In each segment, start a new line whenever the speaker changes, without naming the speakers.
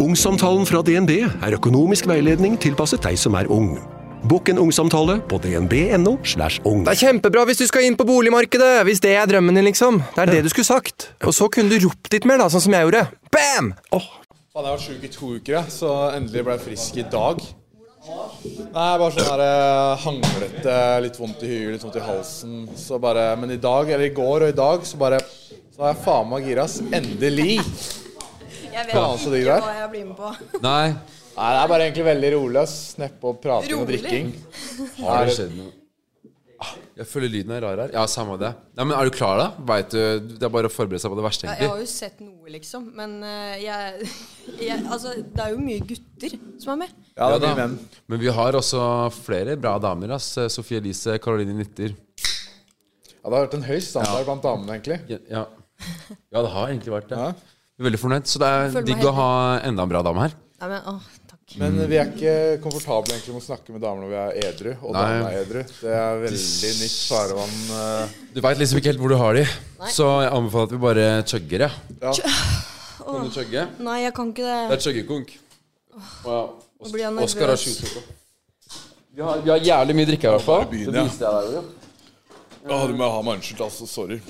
Ungsamtalen fra DNB er økonomisk veiledning tilpasset deg som er ung. Bokk en ungsamtale på dnb.no. slash ung.
Det er kjempebra hvis du skal inn på boligmarkedet! Hvis det er drømmen din, liksom. Det er det du skulle sagt. Og så kunne du ropt litt mer, da, sånn som jeg gjorde. Bam!
Faen, jeg har vært sjuk i to uker, jeg, så endelig ble jeg frisk i dag. Nei, bare sånn der eh, hanglete, litt vondt i huet, litt vondt i halsen. Så bare, men i dag, eller i går og i dag, så bare Så er jeg faen meg gira, ass. Endelig!
Jeg vet
Faen, så digg det
ikke
er.
hva jeg blir med på.
Nei.
Nei, det er bare egentlig veldig rolig, ass. Neppe og prating og
Rolig?
drikking.
Har det skjedd noe? Ah, Jeg føler lyden er rar her. Ja, samme det. Nei, men Er du klar, da? Vet du, Det er bare å forberede seg på det verste,
Ja, Jeg har
egentlig.
jo sett noe, liksom. Men eh, jeg, jeg Altså, det er jo mye gutter som er med.
Ja, det er
da.
mye menn.
Men vi har også flere bra damer. ass. Sofie Elise, Caroline Nitter.
Ja, det har vært en høy standard blant damene, egentlig.
Ja, ja. ja, det har egentlig vært det.
Ja.
Jeg er Veldig fornøyd. Så det er
Føler meg
digg
helt
å ha enda en bra dame her.
Nei, men, åh, takk.
Men vi er ikke komfortable egentlig med å snakke med damer når vi er edru, og
Nei.
damene er edru. Det er veldig nytt farvann. eh.
Du veit liksom ikke helt hvor du har de, så jeg anbefaler at vi bare chugger, ja.
Ja.
Kan du chugge?
Nei, jeg kan ikke
Det
det.
er chuggekonk. Wow.
Nå blir jeg nervøs.
Oskar har sju stykker. Vi har, vi har jævlig mye drikke her, i hvert fall.
begynne,
Det
ja.
viste jeg deg jo.
Å, du må ha meg unnskyldt, altså. Sorry.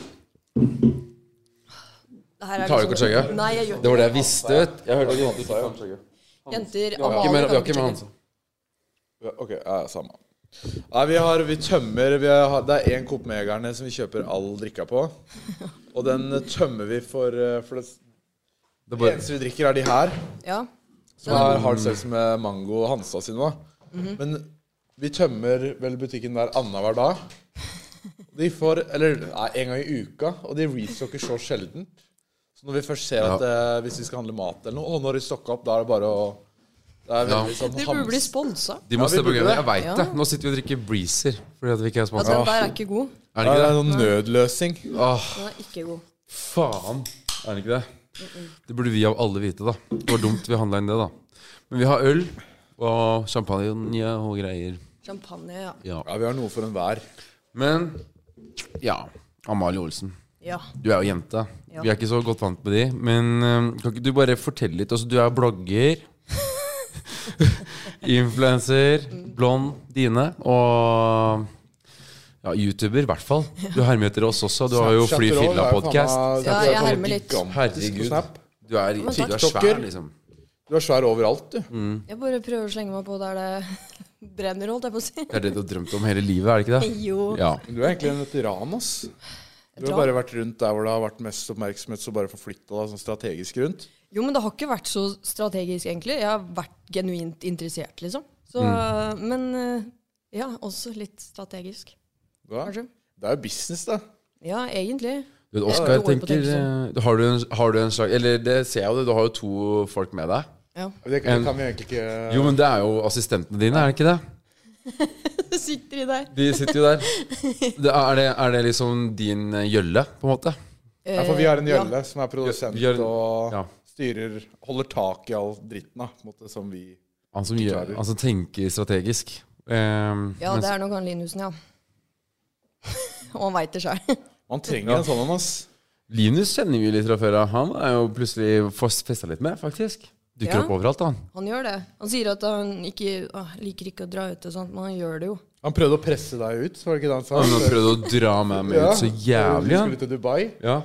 Det her er
Tar du ikke å
liksom-
chugge?
Nei, jeg gjør
Det
ikke
var det jeg visste, vet Jeg hørte at du ikke kan chugge.
det. Jenter
Vi har ikke mer- vi har ikke mer
chugge.
Hansa.
Ja, Ok, ja, samme. Nei, vi, har, vi tømmer vi har, Det er én Coop Megerne som vi kjøper all drikka på. Og den tømmer vi for, eh, for det,
Det er
det
bare,
eneste vi drikker, er de her.
Ja.
Som er hard seltzer med mango og Hansa sine. da.
Mhm.
Men vi tømmer vel butikken hver annenhver dag. De får Eller nei, en gang i uka. Og de restocker så sjelden. Så når vi først ser at eh, hvis vi skal handle mat eller noe, og når de stokker opp, da er det bare å Det er
Ja.
veldig sånn
Dere burde bli
hams-
sponsa.
de må
Ja, vi
se på
burde
greiene.
det.
Jeg veit
Ja.
det. Nå sitter vi og drikker Breezer fordi at vi ikke er
Altså,
sponsa.
den der er ikke god.
Er det
Ja, det
ikke
er
det?
noen nødløsning.
Åh,
Den er ikke god.
faen. Er det ikke det? Det burde vi av alle vite, da. Det var dumt vi handla inn det, da. Men vi har øl og champagne og greier.
Champagne, ja.
Ja.
Ja, vi har noe for enhver.
Men ja. Amalie Olsen.
Ja.
Du er jo jente.
Ja.
Vi er ikke så godt vant med de. Men øhm, kan ikke du bare fortelle litt? Altså, du er blogger. Influenser.
Mm.
Blond. Dine. Og ja, YouTuber, i hvert fall. Du hermer etter oss også. Du har jo Fly Filla-podkast.
Ja, jeg hermer litt.
Herregud. Du er
men takk.
tydelig og svær,
Stokker.
liksom.
Du er svær overalt, du.
Jeg bare prøver å slenge meg på der det brenner, holdt jeg på å si.
Det er det du har drømt om hele livet, er det ikke det?
Jo.
Ja.
Du er egentlig en veteran, ass. Du har
Veteran?
bare vært rundt der hvor det har vært mest oppmerksomhet, så bare forflytta deg sånn strategisk rundt.
Jo, men det har ikke vært så strategisk, egentlig. Jeg har vært genuint interessert, liksom. Så,
Mm.
Men eh, ja, også litt strategisk,
Ja.
kanskje.
Det er jo business, da.
Ja, egentlig.
Du vet, Oskar
Jeg tror på
tenker
teksten.
eh, har du, en, har du en slags Eller det ser jeg jo, du har jo to folk med deg.
Ja.
Det kan, det kan vi egentlig ikke
Jo, men det er jo assistentene dine, er det ikke det?
Det sitter i deg.
De sitter jo der. Det, er, det, er det liksom din eh, gjølle, på en måte?
Eh,
Nei, for vi har en gjølle som er produsent
Vi har en-
og
ja.
styrer Holder tak i all dritten, da, på en måte, som vi
Han som, gjør,
Klarer.
han som tenker strategisk. Um,
Ja, det er nok han Linusen, ja. Og han veit det sjøl.
Man trenger en sånn en, ass.
Linus kjenner vi litt fra før av. Han er jo plutselig festa litt med, faktisk. Dukker
Ja.
opp overalt, han.
Han gjør det. Han sier at han ikke ah, liker ikke å dra ut og sånt, men han gjør det jo.
Han prøvde å presse deg ut, var det ikke det han sa?
Han har prøvd å dra meg med ut så
Du
jævlig. Han.
skulle til Dubai.
Ja.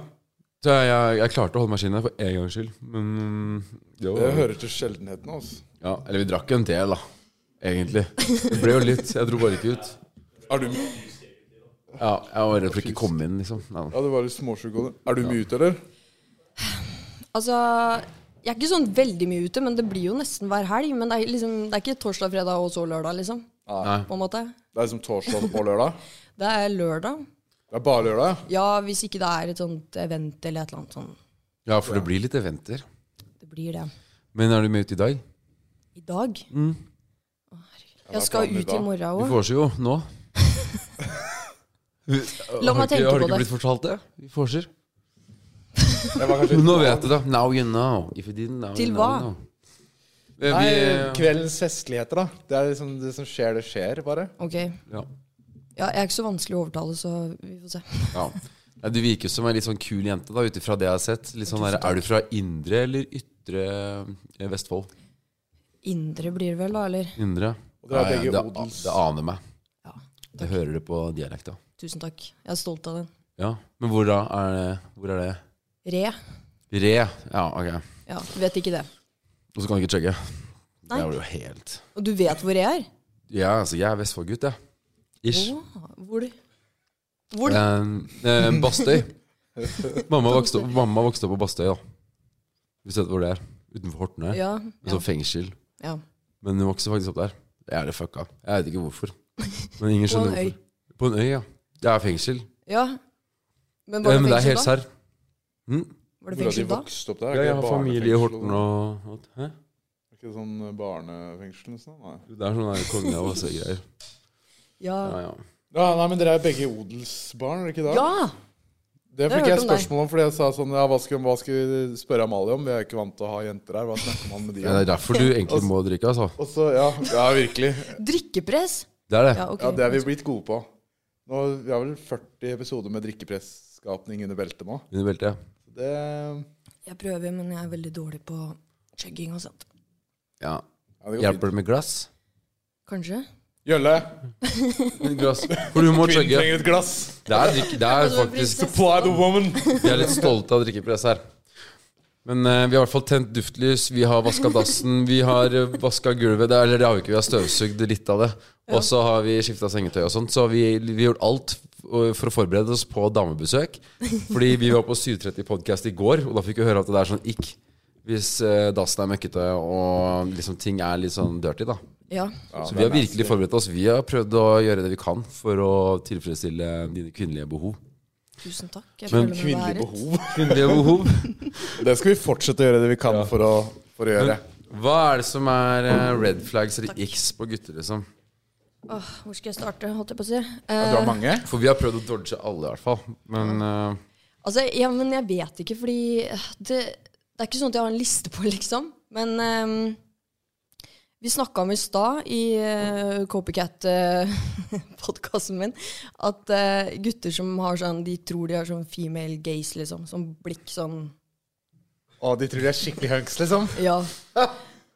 Så jeg, jeg, jeg klarte å holde meg skinnet for en gangs skyld, men mm, det
Det
var,
hører til sjeldenhetene, altså.
ja, Eller vi drakk jo en del, da. Egentlig. Det ble jo litt. Jeg dro bare ikke ut.
Er du
Ja, Jeg var redd for ikke å komme inn, liksom. Nei.
Ja, det var litt småsjuk av det. Er du mye ute, eller?
Altså, jeg er ikke sånn veldig mye ute, men det blir jo nesten hver helg. Men det er, liksom, det er ikke torsdag, fredag og så lørdag, liksom. På en måte.
Det er liksom torsdag og lørdag.
Det er lørdag.
Det er bare lørdag.
Ja, hvis ikke det er et sånt event eller et eller annet sånn.
Ja, for det blir litt eventer.
Det blir det.
Men er du med ut i dag?
I dag?
Mm.
Å, herregud. Jeg
planen
skal
i
ut i
dag?
Du
morgen òg.
vorser jo nå.
La meg tenke
har
på
du ikke
det.
blitt fortalt det? Vi vorser.
Det var kanskje
Nå vet du det. Now you know. If you didn't now
Til
you
hva?
know. Eh, Til
Nei,
hva?
kveldens festligheter, da. Det er liksom det som skjer, det skjer, bare.
Ok.
Ja.
Ja, jeg er ikke så vanskelig å overtale, så vi får se.
Ja. Nei, Du virker som ei litt sånn kul jente, da, ut ifra det jeg har sett. Litt sånn der, er du fra indre eller ytre? ytre eh, Vestfold.
Indre blir det vel, da, eller?
Indre.
Og dere er
Ja, ja,
begge
det, a-
odels...
det aner meg.
Ja,
Jeg hører det på dialekta.
Tusen takk. Jeg er stolt av den.
Ja. Men hvor da? Er det, hvor er det?
Re.
Re. Ja, ok.
Ja, vet ikke det.
Og så kan jeg ikke chugge.
Nei.
Jeg blir jo helt
Og du vet hvor jeg er?
Ja, altså, jeg er Vestfold-gutt, jeg. Ish.
Åh, hvor? Hvor?
Eh, eh, Bastøy. mamma, vokste opp, mamma vokste opp på Bastøy, da. Hvis du vet hvor det er. Utenfor Hortnøy.
Ja.
Et sånt fengsel.
ja.
Men hun vokste faktisk opp der. Det er det fucka. Jeg vet ikke hvorfor. Men ingen
På en
skjønner
øy.
hvorfor. På en øy, ja. Det er fengsel.
ja. Men
Eh,
var det
men det er
fengsel
helt
da?
serr. Mm.
Var
Hvor har
det
de
fengsel da?
vokst opp der? Er
Ja,
ikke
jeg
det
har familie i
barnefengsel
Horten
og
og og- Hæ?
sånn? Er Ikke det sånn barnefengsel og sånn? Nei.
Det er sånn der konge av masse greier.
Ja.
Ja, ja.
Ja, nei, men dere er begge odelsbarn, er det ikke det?
ja!
Det
Jeg
fikk
har
jeg
hørt om deg.
spørsmål om, fordi jeg sa sånn ja, hva, skal, hva skal vi spørre Amalie om? Vi er ikke vant til å ha jenter her. Hva snakker man med de
Ja,
om?
Det er derfor du egentlig må drikke, altså.
Og så, ja, ja, virkelig.
Drikkepress!
Det er det.
Ja, ok.
Ja, Det er vi blitt gode på. Nå, Vi har vel 40 episoder med drikkepresskapning under beltet nå.
Under beltet.
Det,
Jeg prøver, men jeg er veldig dårlig på chugging og sånt.
Ja.
ja, det går fint.
Hjelper det med glass?
Kanskje?
Gjølle,
glass. For du må
kvinnen
chugge.
trenger et glass!
Det er, drikk- det er faktisk
Supply the woman!
Vi er litt stolte av drikkepress her. Men eh, vi har i hvert fall tent duftlys, vi har vaska dassen, vi har uh, vaska gulvet det- Eller det har vi ikke, vi har støvsugd litt av det. Og så har vi skifta sengetøy og sånt. Så har vi, vi har gjort alt eh, for å forberede oss på damebesøk. Fordi vi var på 7.30 podcast i går, og da fikk vi høre at det er sånn ikk hvis eh, dassen er møkkete og liksom ting er litt sånn dirty, da.
Ja.
Så vi har virkelig forberedt oss. Vi har prøvd å gjøre det vi kan for å tilfredsstille dine kvinnelige behov.
Tusen takk. Jeg føler
Men
meg
Kvinnelig
beæret.
behov.
Kvinnelige behov?
Det skal vi fortsette å gjøre det vi kan for, å, for å
Eh.
gjøre.
Hva er det som er eh, red flags eller x på gutter, liksom?
Åh, hvor skal jeg starte, holdt jeg på å si? Eh,
Ja, du har mange?
For vi har prøvd å dodge alle, i hvert fall. Men eh,
Altså, ja, men jeg vet ikke, fordi eh, det, det er ikke sånn at jeg har en liste på, liksom. Men ehm, vi snakka om i stad i uh, Copycat-podkasten min at eh, gutter som har sånn De tror de har sånn female gaze, liksom. Sånn blikk sånn
Å, de tror de er skikkelig hunks, liksom.
Ja.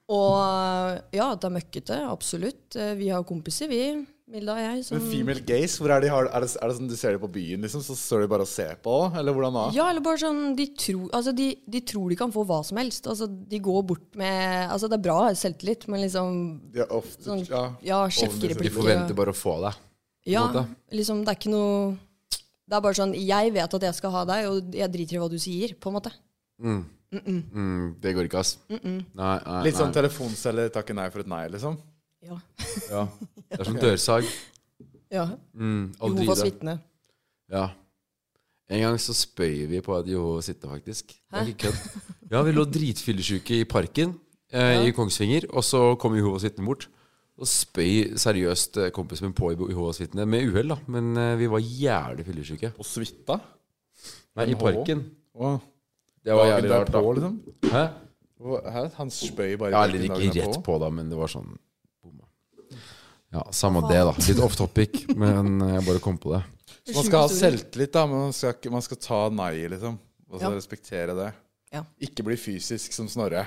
Og eh, ja, det er møkkete. Absolutt. Eh, Vi har kompiser, vi. Milda og jeg.
Men
Som,
female gaze, hvor er de har Er det, er det sånn du ser dem på byen, liksom? Så står de bare og ser på, eller hvordan da?
Ja, eller bare sånn de, tror, altså, de, de tror de kan få hva som helst. Altså, de går bort med Altså, det er bra selvtillit, men liksom
De er ofte
Sånn-
ja.
Ja,
de
sjekkereplikker.
forventer bare å få deg.
Ja,
måte.
liksom, det er ikke noe Det er bare sånn Jeg vet at jeg skal ha deg, og jeg driter i hva du sier, på en måte.
Mm, det går ikke, ass. Nei, nei,
Litt sånn
nei.
telefonceller takker nei for et nei, liksom.
Ja.
Ja. Det er som dørsag.
ja.
Mm, aldri gi
Jehovas
det.
vitne.
Ja. En gang så spøy vi på at Jehovas vitne, faktisk. Det er ikke kødd. Ja, vi lå dritfyllesyke i parken eh, i Kongsvinger, og så kom Jehovas vitne bort. Og spøy seriøst eh, kompisen min på Jehovas vitne, med uhell, da. Men eh, vi var jævlig fyllesyke.
Og suita.
Nei, i parken.
Wow.
Det var jævlig rart, da.
Liksom.
Hæ?
Hva- Hæ? Han spøy bare i
Ja, eller
parken
ikke
dagen
rett
derpå.
på, da, men det var sånn bomma. Ja, samme det, da. Litt off topic, men eh, jeg bare kom på det.
Man skal ha selvtillit, da, men man skal, ikke- man skal ta nei, liksom. Og så
Ja.
respektere det.
Ja.
Ikke bli fysisk som Snorre.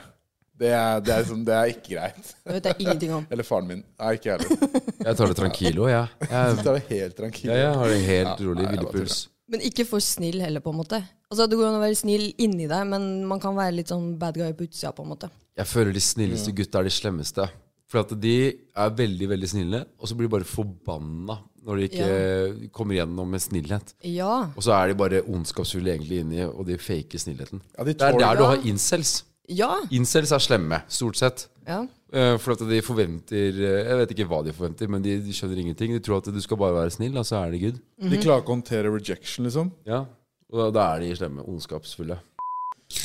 Det er, det, er liksom, det er ikke greit.
Det vet jeg ingenting om.
Eller faren min. Nei, ikke jeg heller.
Jeg tar det tranquilo, jeg. Jeg,
Så er det helt tranquillt.
jeg, jeg har en helt rolig
nei, jeg bare
hvilepuls.
Men ikke for snill heller, på en måte. Altså, Det går an å være snill inni deg, men man kan være litt sånn bad guy på utsida, på en måte.
Jeg føler de snilleste gutta er de slemmeste. For at de er veldig, veldig snille, og så blir de bare forbanna når de ikke kommer gjennom med snillhet.
Ja.
Og så er de bare ondskapsfulle egentlig inni, og de faker snillheten.
Ja, de
Det er
tåler-
der du har incels.
Ja.
Incels er slemme, stort sett.
ja.
Eh, For at de forventer eh, Jeg vet ikke hva de forventer, men de, de skjønner ingenting. De tror at du skal bare være snill, og så er det good.
De
Mhm.
klarer ikke å håndtere rejection, liksom.
Ja. Og da, da er de slemme. Ondskapsfulle.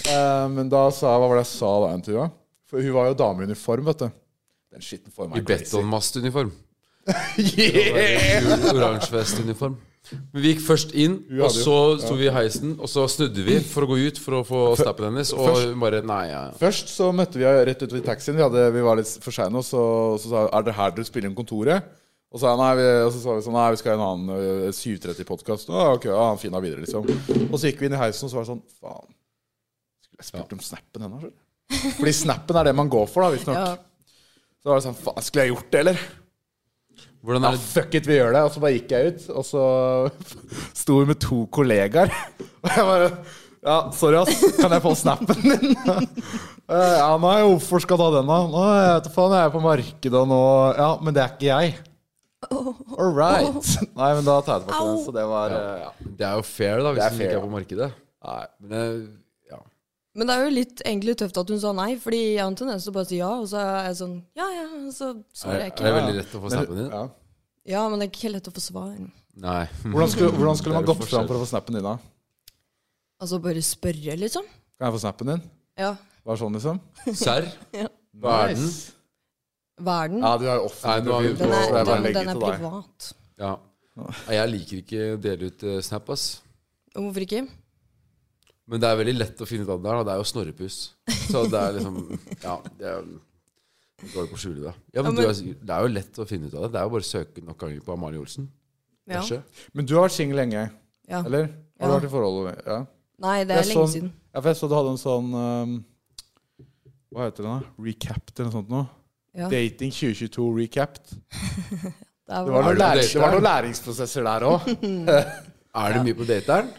Eh, men da sa jeg Hva var det jeg sa da, Entua? For hun var jo dame i uniform, vet du. Den skitten får
I
meg
betonmastuniform.
Yeah!
Gul oransjevestuniform. Men vi gikk først inn,
Hun
og
hadde
så sto vi i heisen, og så snudde vi for å gå ut for å få stappen hennes, og
først-
hun bare Nei, ja.
Først så møtte vi henne rett utover i taxien. Vi, hadde, vi var litt for seine, og så, så sa hun er det her dere spiller inn Kontoret. Og, så sa jeg, nei, vi, og så sa vi sånn Nei, vi skal ha en annen eh, 730-podkast. Ok, ja, fin da videre, liksom. Og så gikk vi inn i heisen, og så var det sånn Faen. Skulle jeg spurt om snappen hennes? eller? Fordi snappen er det man går for, da, visstnok.
Ja.
Så var det sånn Faen, skulle jeg gjort det, eller?
Hvordan
Ja,
er det
fuck it, vi gjør det. Og så bare gikk jeg ut, og så sto vi med to kollegaer. Og jeg bare Ja, sorry, ass. Kan jeg få snappen din? Eh, Ja, nei, hvorfor skal jeg ta den, da? Nei, jeg vet da faen, jeg er på markedet nå. Ja, men det er ikke jeg. All right. Nei, men da tar jeg tilbake den. Så det var eh, ja.
Det er jo fair,
Det
da,
er
hvis den
fair,
ikke
ja.
er på markedet. Nei, men eh, ja.
Men det er jo litt egentlig tøft at hun sa nei, fordi jeg har en tendens til å bare si ja, og så er jeg sånn ja, ja, og så
Er,
svarer jeg
er det
ikke.
veldig rett å få snappen din?
Ja.
Ja, men det er ikke lett å få svar.
Nei.
Hvordan skulle, hvordan skulle
Det
man
er jo
gått fram
forskjell.
for å få snappen din, da?
Altså bare spørre, liksom.
Kan jeg få snappen din?
Ja.
Var det sånn, liksom?
Serr?
Ja.
Hva er den?
Hva er den?
Ja, du har jo
Nei, nå
offentlig
er vi
profil,
den,
på-
så jeg
er,
bare
den,
legger
den er
til deg.
privat.
Ja. Nei, Jeg liker ikke å dele ut eh, Snap, ass.
Og Hvorfor ikke?
Men det er veldig lett å finne ut av det her. da. Det er jo snorrepus. Så det er liksom Ja. Det er jeg går jo på å skjule det. Ja,
Ja,
men,
men-
Du, er- det er jo lett å finne ut av det. Det er jo bare å søke nok ganger på Amalie Olsen.
Ja.
Kanskje.
Men du har vært singel lenge,
ja.
eller? sånn Har du
Ja.
vært i forhold? Ja.
Nei, det er
Jeg
lenge
så-
siden.
Ja, for jeg så du hadde en sånn ehm, Hva heter den, da? Recapped eller noe sånt noe?
Ja, det
Dating 2022 recapped. Det var,
var...
Er
noen
du på
læring,
date
det var
der?
noen læringsprosesser der òg.
Er det mye på dateren?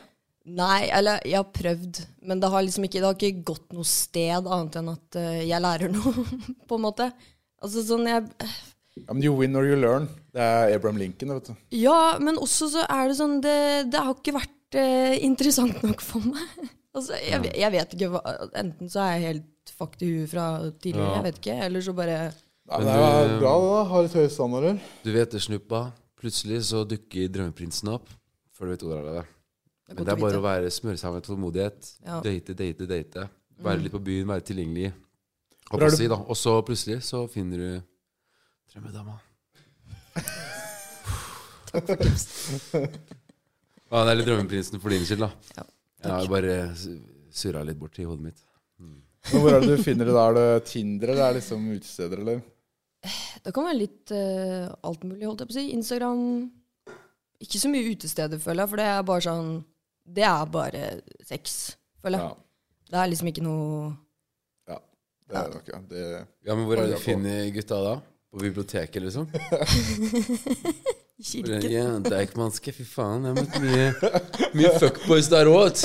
Nei, eller jeg har prøvd, men det har liksom ikke, det har ikke gått noe sted annet enn at eh, jeg lærer noe, på en måte. Altså sånn jeg
Ja, men you win or you learn. Det er Abraham Lincoln, vet du.
Ja, men også så er det sånn Det, det har ikke vært eh, interessant nok for meg. altså, jeg, ve- jeg vet ikke hva Enten så er jeg helt fucked i huet fra tidligere, jeg vet ikke, eller så bare
Ja, men
Men
det er
du- eh,
bra, da. Har litt høye standarder.
Du vet det, snuppa. Plutselig så dukker drømmeprinsen opp. Før du vet ordet av det. Men
godt å
det er bare
vite.
å være smøre seg med tålmodighet.
Ja. Mm.
Date, date, date. Være litt på byen, være tilgjengelig. Hva
Hvor er
skal jeg si, da. Og så plutselig så finner du drømmedama. Ja, det er litt drømmeprinsen for din skyld, da.
Ja,
Jeg har bare surra litt bort i hodet mitt.
Men hvor er det du finner det? da? Er det Tinder, eller er det liksom utesteder, eller?
Det kan være litt eh, alt mulig, holdt jeg på å si. Instagram Ikke så mye utesteder, føler jeg, for det er bare sånn Det er bare sex, føler jeg.
Ja.
Det er liksom ikke noe
ja. Det er nok, ja. Det,
Ja, men hvor er
Oi,
det du finner gutta da? På biblioteket, liksom?
kirke.
Ja, Deichmanske, fy faen. Jeg har møtt mye, mye fuckboys der òg.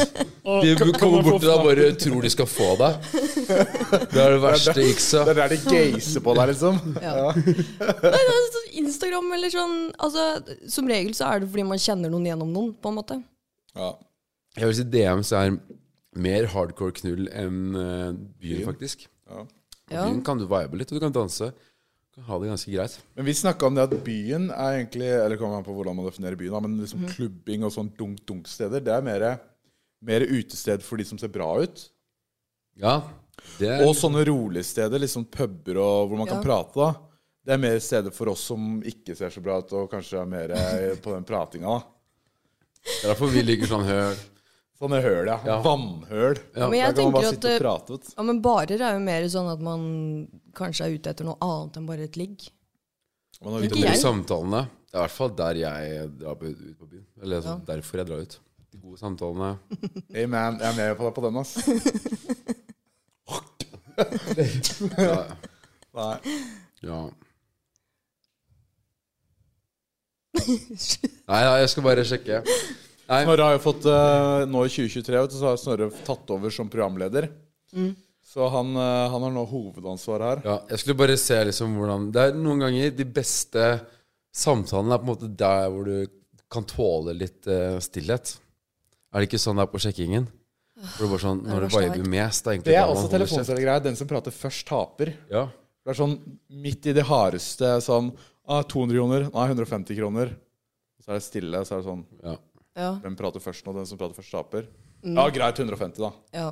De kommer bort til deg og bare tror de skal få deg. Det er det verste iksa.
det er der de geiser på deg, liksom.
Ja. Nei, det er sånn Instagram eller sånn altså, Som regel så er det fordi man kjenner noen gjennom noen, på en måte.
Ja.
Jeg vil si DMs er mer hardcore knull enn eh, byen, faktisk.
Ja.
Ja.
Byen kan du vibe litt, og du kan danse. Du kan ha det ganske greit.
Men vi snakka om det at byen er egentlig Eller det kommer an på hvordan man definerer byen, da, men liksom klubbing og sånn dunk-dunk-steder, det er mer, mer utested for de som ser bra ut.
Ja, det er,
Og sånne rolige steder, liksom puber og hvor man
Ja.
kan prate, da. Det er mer steder for oss som ikke ser så bra ut, og kanskje er mer eh, på den pratinga, da.
det er derfor vi ligger sånn høl.
Sånne høl, ja.
Ja.
Vannhøl.
Ja.
Men jeg
Der kan man
tenker
bare
at
sitte og
eh,
prate. Vet. du.
ja, men barer er jo mer sånn at man kanskje er ute etter noe annet enn bare et ligg.
Man har
Ikke
De
jeg.
samtalene. Det er i hvert fall der jeg drar på, ut på byen. Eller altså, derfor jeg drar ut. De gode samtalene.
Hey man, jeg er med på deg på den, ass.
Ja,
Nei.
ja. Nei, nei, jeg skal bare sjekke. Nei,
Snorre har jo fått eh, Nå i 2023 vet du, så har Snorre tatt over som programleder. Mm. Så han, eh, han har nå hovedansvaret her.
ja, jeg skulle bare se liksom hvordan Det er noen ganger de beste samtalene er på en måte der hvor du kan tåle litt eh, stillhet. Er det ikke sånn det er på sjekkingen? Hvor det bare sånn, Når
det
du
verste jeg
viber mest, det er egentlig
Det er
da man
også
holder kjeft.
telefonselgergreia. Den som prater først, taper.
Ja.
Det er sånn midt i det hardeste sånn ah, 200 kroner, nei, 150 kroner. Så er det stille, så er det sånn
ja.
Ja,
Hvem prater først nå? Den som prater først, taper. Ja, greit, 150, da.
ja.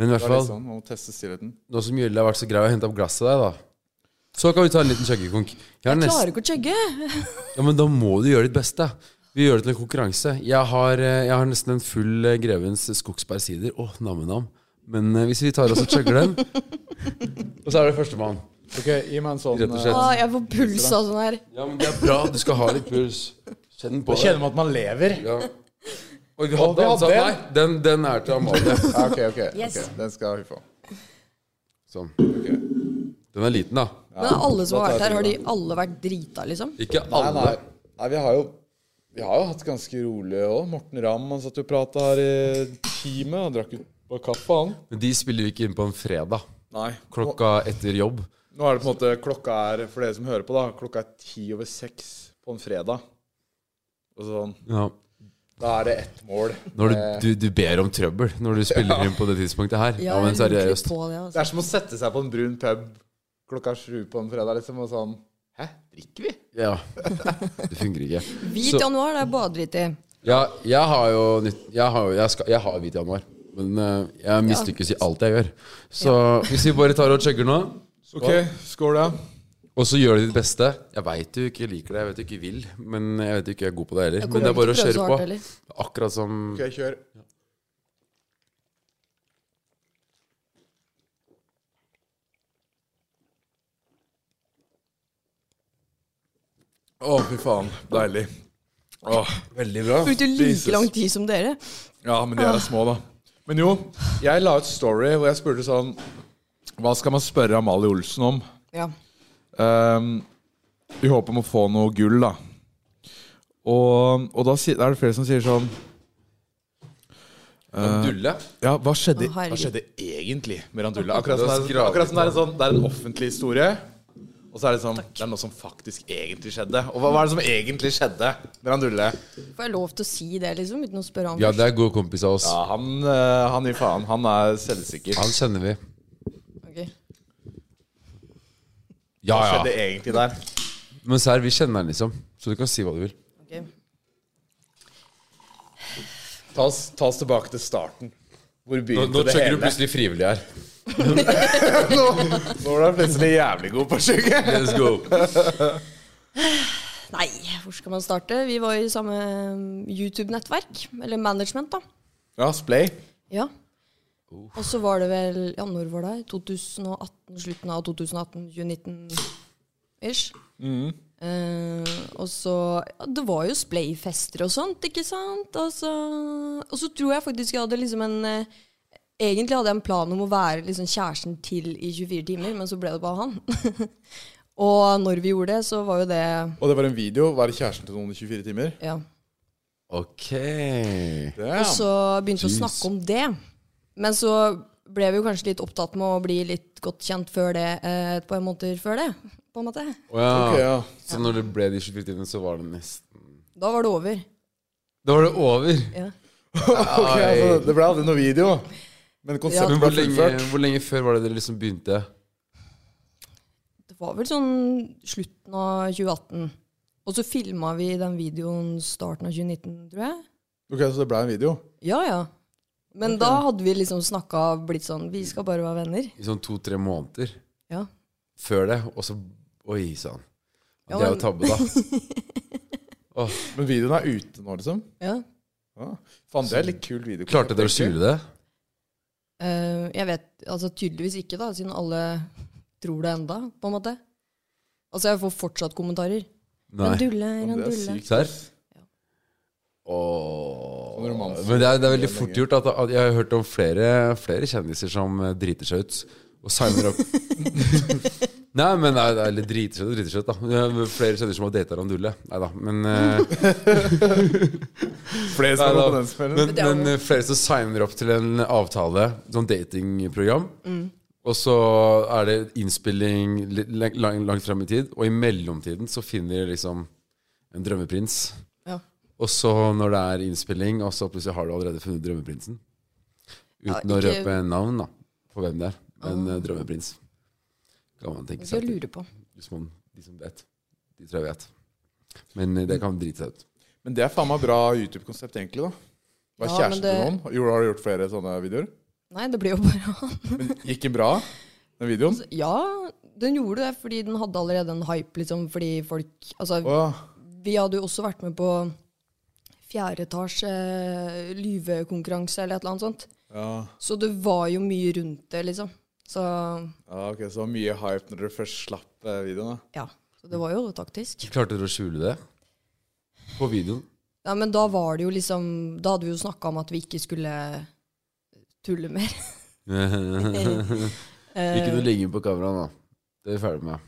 Men i
Det
hvert
er
fall
litt sånn, Man må teste stillheten.
Nå som Jylle har vært så grei å hente opp glasset der, da. Så kan vi ta en liten kjøkkenkonk. Jeg har nest-
Klarer ikke å chugge!
Ja, men da må du gjøre ditt beste. Vi gjør det til en konkurranse. Jeg har, eh, jeg har nesten en full eh, Grevens skogsbærsider. Åh, nam-nam. Men eh, hvis vi tar oss og chugger den Og så er det førstemann.
Ok, gi meg en sånn
Rett og slett.
eh,
Ah, jeg får puls av sånn her.
Ja, men det er bra. Du skal ha litt puls. Kjenn på
Jeg
det.
eh, kjenner at man lever.
Ja. Oi,
Å,
vi
vi
hadde en
hadde
sånn.
en.
Nei, den, den er til Amalie.
Ja, ok, ok.
Yes.
ok, Den skal vi få.
Sånn. Den er liten, da.
Men alle som
Da
har
tar
vært
jeg
her, har de
trynet.
alle vært drita, liksom?
Ikke
Nei,
alle.
nei. nei vi, har jo, vi har jo hatt ganske rolig òg. Morten Ramm han satt jo og prata her i time. Han drakk ut på kaffe, han.
Men de spiller jo ikke inn på en fredag.
Nei. Nå,
Klokka etter jobb.
nå er det på en måte Klokka er, for dere som hører på, da, klokka er ti over seks på en fredag. Og sånn.
Ja.
Da er det ett mål.
Når du,
Eh,
du, du ber om trøbbel når du spiller inn på det tidspunktet her. Ja, men
jeg lurer litt
seriøst.
på det,
Det
altså.
er som å sette seg på en brun pub klokka sju på en fredag, liksom, og sånn Hæ, drikker vi?
Ja. Det fungerer ikke.
Hvit
Så-
januar, det er bare dritt i.
Ja, jeg har jo nytt Jeg har, jo- jeg skal, jeg har hvit januar. Men eh, jeg mislykkes i alt jeg gjør. Så hvis vi bare tar og chugger nå,
OK, skål, ja.
og så gjør du ditt beste Jeg veit du ikke liker det, jeg vet du ikke vil, men jeg vet du ikke er god på det heller.
Jeg
Men det
kommer
er bare å
ikke til å prøve så
kjøre
hardt
på.
heller.
Akkurat som
OK, kjør. Å, fy faen. Deilig. Å, veldig bra.
Brukte
Jesus.
like lang tid som dere.
Ja, men de er små, da. Men jo, jeg la ut story hvor jeg spurte sånn Hva skal man spørre Amalie Olsen om?
Ja.
Ehm, I håp om å få noe gull, da. Og, og da si- da er det flere som sier sånn
Dulle.
Ja, hva skjedde,
Å,
hva
herregud.
skjedde egentlig med Randulla? Akkurat som
Det
det
er
er, akkurat som det er, en, sånn, det er en offentlig historie. Og så er det sånn Det er noe som faktisk egentlig skjedde. Og hva, hva er det som egentlig skjedde med Randulle?
Får jeg lov til å si det, liksom? Uten å spørre han
Ja,
først?
det er god kompis av oss.
Ja, han, eh, han gir faen. Han er selvsikker.
Han kjenner vi.
Ok.
Ja,
Hva
ja.
skjedde egentlig der?
Men serr, vi kjenner han liksom. Så du kan si hva du vil.
Ok.
Ta oss, ta oss tilbake til starten. Hvor
Nå,
begynte
nå
det
chugger du
hele?
plutselig frivillig her.
Nå, nå var du plutselig jævlig god på å chugge.
Let's go.
Nei, hvor skal man starte? Vi var i samme um, YouTube-nettverk, eller management, da.
Ja, Splay.
Ja. Og så var det vel Ja, når var det? 2018? Slutten av 2018? 2019-ish? Eh, og så ja, Det var jo Splay-fester og sånt, ikke sant? Og så, og så tror jeg faktisk jeg hadde liksom en eh, Egentlig hadde jeg en plan om å være liksom kjæresten til i 24 timer, men så ble det bare han. og når vi gjorde det, så var jo det
Og det var en video. Være kjæresten til noen i 24 timer.
Ja.
Ok.
Og så begynte vi å
Jeez.
snakke om det. Men så ble vi jo kanskje litt opptatt med å bli litt godt kjent før det, eh, et par måneder før det. på en måte.
Å ja.
Ok, ja.
Så når det ble de 24 timene, så var det nesten
Da var det over.
Da var det over.
Ja.
Ok, altså, det ble aldri noe video. Men konseptet
Men
ble
hvor lenge,
fullført.
hvor lenge før var det dere liksom begynte?
Det var vel sånn slutten av 2018. Og så filma vi den videoen starten av 2019, tror jeg.
Ok, Så det ble en video?
Ja, ja. Men da hadde vi liksom snakka blitt sånn Vi skal bare være venner.
I sånn to-tre måneder
Ja.
før det, og så Oi sann.
Ja,
det er jo
men-
tabbe, da.
Men videoen er ute nå, liksom?
ja.
Ja. Faen, det er litt kul video.
Klarte dere å skjule det?
Eh, jeg vet altså tydeligvis ikke, da, siden alle tror det enda, på en måte. Altså, jeg får fortsatt kommentarer.
Nei.
Randulle,
Det er
randulle.
sykt.
Serr?
Sånn romanse.
Men det er, det er veldig fort gjort. At, at Jeg har hørt om flere, flere kjendiser som eh, driter seg ut og signer opp. Nei, men nei, det er litt driter seg ut, driter seg ut, da. Det er Flere kjendiser som har data Randulle. Nei da, men eh,
Flere som
Nei,
har
da.
gått på den smellen.
Men, men eh, flere som signer opp til en avtale, sånn datingprogram.
Mm.
Og så er det innspilling li- lang- lang- langt frem i tid, og i mellomtiden så finner de liksom en drømmeprins.
Ja.
Og så når det er innspilling, og så plutselig har du allerede funnet drømmeprinsen. Uten
Ja,
å
ikke-
røpe navn da, på hvem det er. Men eh, drømmeprins kan man tenke
Hvis jeg
seg. til,
lurer på.
Hvis man, de som vet. De tror jeg vet. Men eh, det kan drite seg ut.
Men det er faen meg bra YouTube-konsept, egentlig. da Var
Ja, men
kjæresten
det-
til noen? Jo, har du gjort flere sånne videoer?
Nei, det ble jo bare han.
Men gikk den bra, den videoen?
Altså, Ja, den gjorde det, fordi den hadde allerede en hype, liksom, fordi folk Altså,
Å,
vi hadde jo også vært med på fjerde etasje eh, lyvekonkurranse eller et eller annet sånt.
ja.
Så det var jo mye rundt det, liksom. Så
ja, ok, så mye hype når dere først slapp eh, videoen, da.
ja. Så det var jo taktisk.
Klarte dere å skjule det? På videoen?
Nei, men da var det jo liksom Da hadde vi jo
Eh,
snakka om at vi ikke skulle tulle mer.
Ikke noe ligging på kameraet, da. Det er vi ferdig med.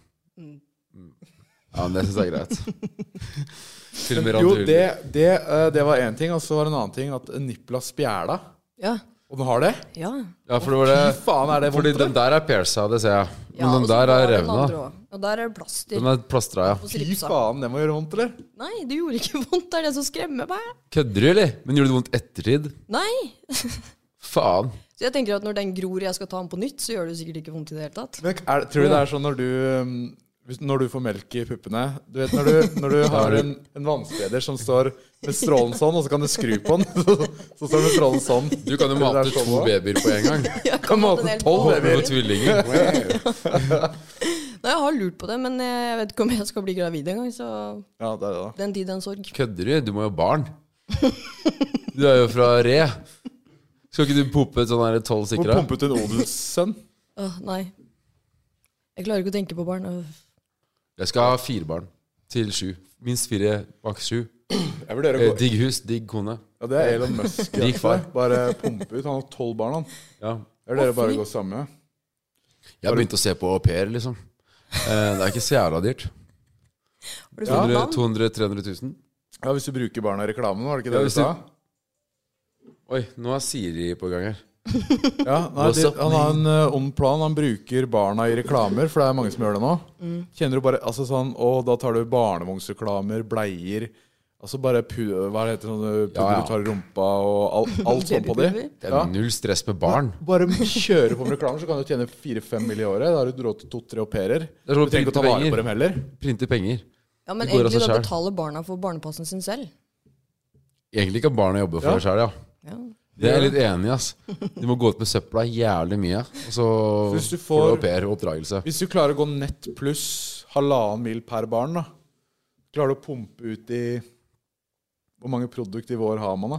Mm. Ja, men det syns jeg er greit. Filmer
Jo,
alt
det, det, eh, det var én ting, og så var det en annen ting at Nipla spjæla.
Ja.
Og den har det?
ja.
Ja, for det var det
Fy faen, er det
Fordi
vondt?
den der er persa, det ser jeg. Men
Ja, og
den
så
der
var
er
den
revna.
andre også. Og der er det plaster
Den er plastra, ja.
og
Fy
slipsa.
faen, det må gjøre vondt, eller?
Nei, det gjorde ikke vondt. Det er det som skremmer meg.
Kødder du, eller? Men gjorde det vondt ettertid?
Nei.
Faen.
Så jeg tenker at når den gror og jeg skal ta den på nytt, så gjør det sikkert ikke vondt i det hele tatt.
Men er, tror du det er sånn når du um, hvis, Når du får melk i puppene Du vet når du, når du har en, en vannspreder som står med strålen sånn, og så kan du skru på den, så, så står den med strålen sånn.
Du kan jo
Tror
mate
det er sånn
to
også?
babyer på en gang.
Jeg
Kan
ha
mate
den helt
tolv,
på.
Håper på tvillinger.
Nei, jeg har lurt på det, men jeg vet ikke om jeg skal bli gravid engang. Så
Ja, det er det da.
den tid, den sorg.
Kødder du? Du må jo ha barn. Du er jo fra Re. Skal ikke du pumpe et sånn her tolv
Hvor
sikra?
pumpet hun odelssønn?
Åh, nei. Jeg klarer ikke å tenke på barn. Åh.
Jeg skal ha fire barn. Til sju. Minst fire, maks sju.
Jeg vurderer å
Eh,
gå
digg hus, digg kone.
Ja, det er Elon Musk.
Rik far.
Bare pumpe ut. Han har tolv barn, han.
Ja.
Jeg vurderer bare å gå sammen med.
Jeg begynte å se på au pair, liksom. Eh, det er ikke så jævla dyrt.
Har du fått navn?
200-300 000.
Ja, hvis du bruker barna i reklamen, var det ikke
Ja,
det du
hvis
sa?
Oi, nå er Siri på gang her.
Ja, nei,
What's
de,
up,
han har en eh, ond plan. Han bruker barna i reklamer, for det er mange som gjør det nå. Kjenner du bare altså sånn Å, da tar du barnevognsreklamer, bleier Altså bare pu hva heter det, sånne pudder
Ja, ja.
du tar i rumpa, og all, alt sånt på de.
Babypulver.
Det er
Ja.
null stress med barn.
Bare kjøre på med reklamer, så kan du tjene 4-5 mill. i året. Da har du råd til to-tre au pairer.
Det er
Du
sånn
trenger ikke å ta vare
printepenger.
på dem heller.
Printe penger.
Ja, men
Det går av
egentlig
seg
da
selv.
betaler barna for barnepassen sin selv.
Egentlig kan barna jobbe for
Ja.
det sjøl, ja.
Ja.
Det er jeg litt enig i, ass. De må gå ut med søpla jævlig mye. Og så
Hvis du
får,
får-
du au pair og oppdragelse.
Hvis du klarer å gå nett pluss halvannen mil per barn, da Klarer du å pumpe ut i Hvor mange produkt i vår har man, da?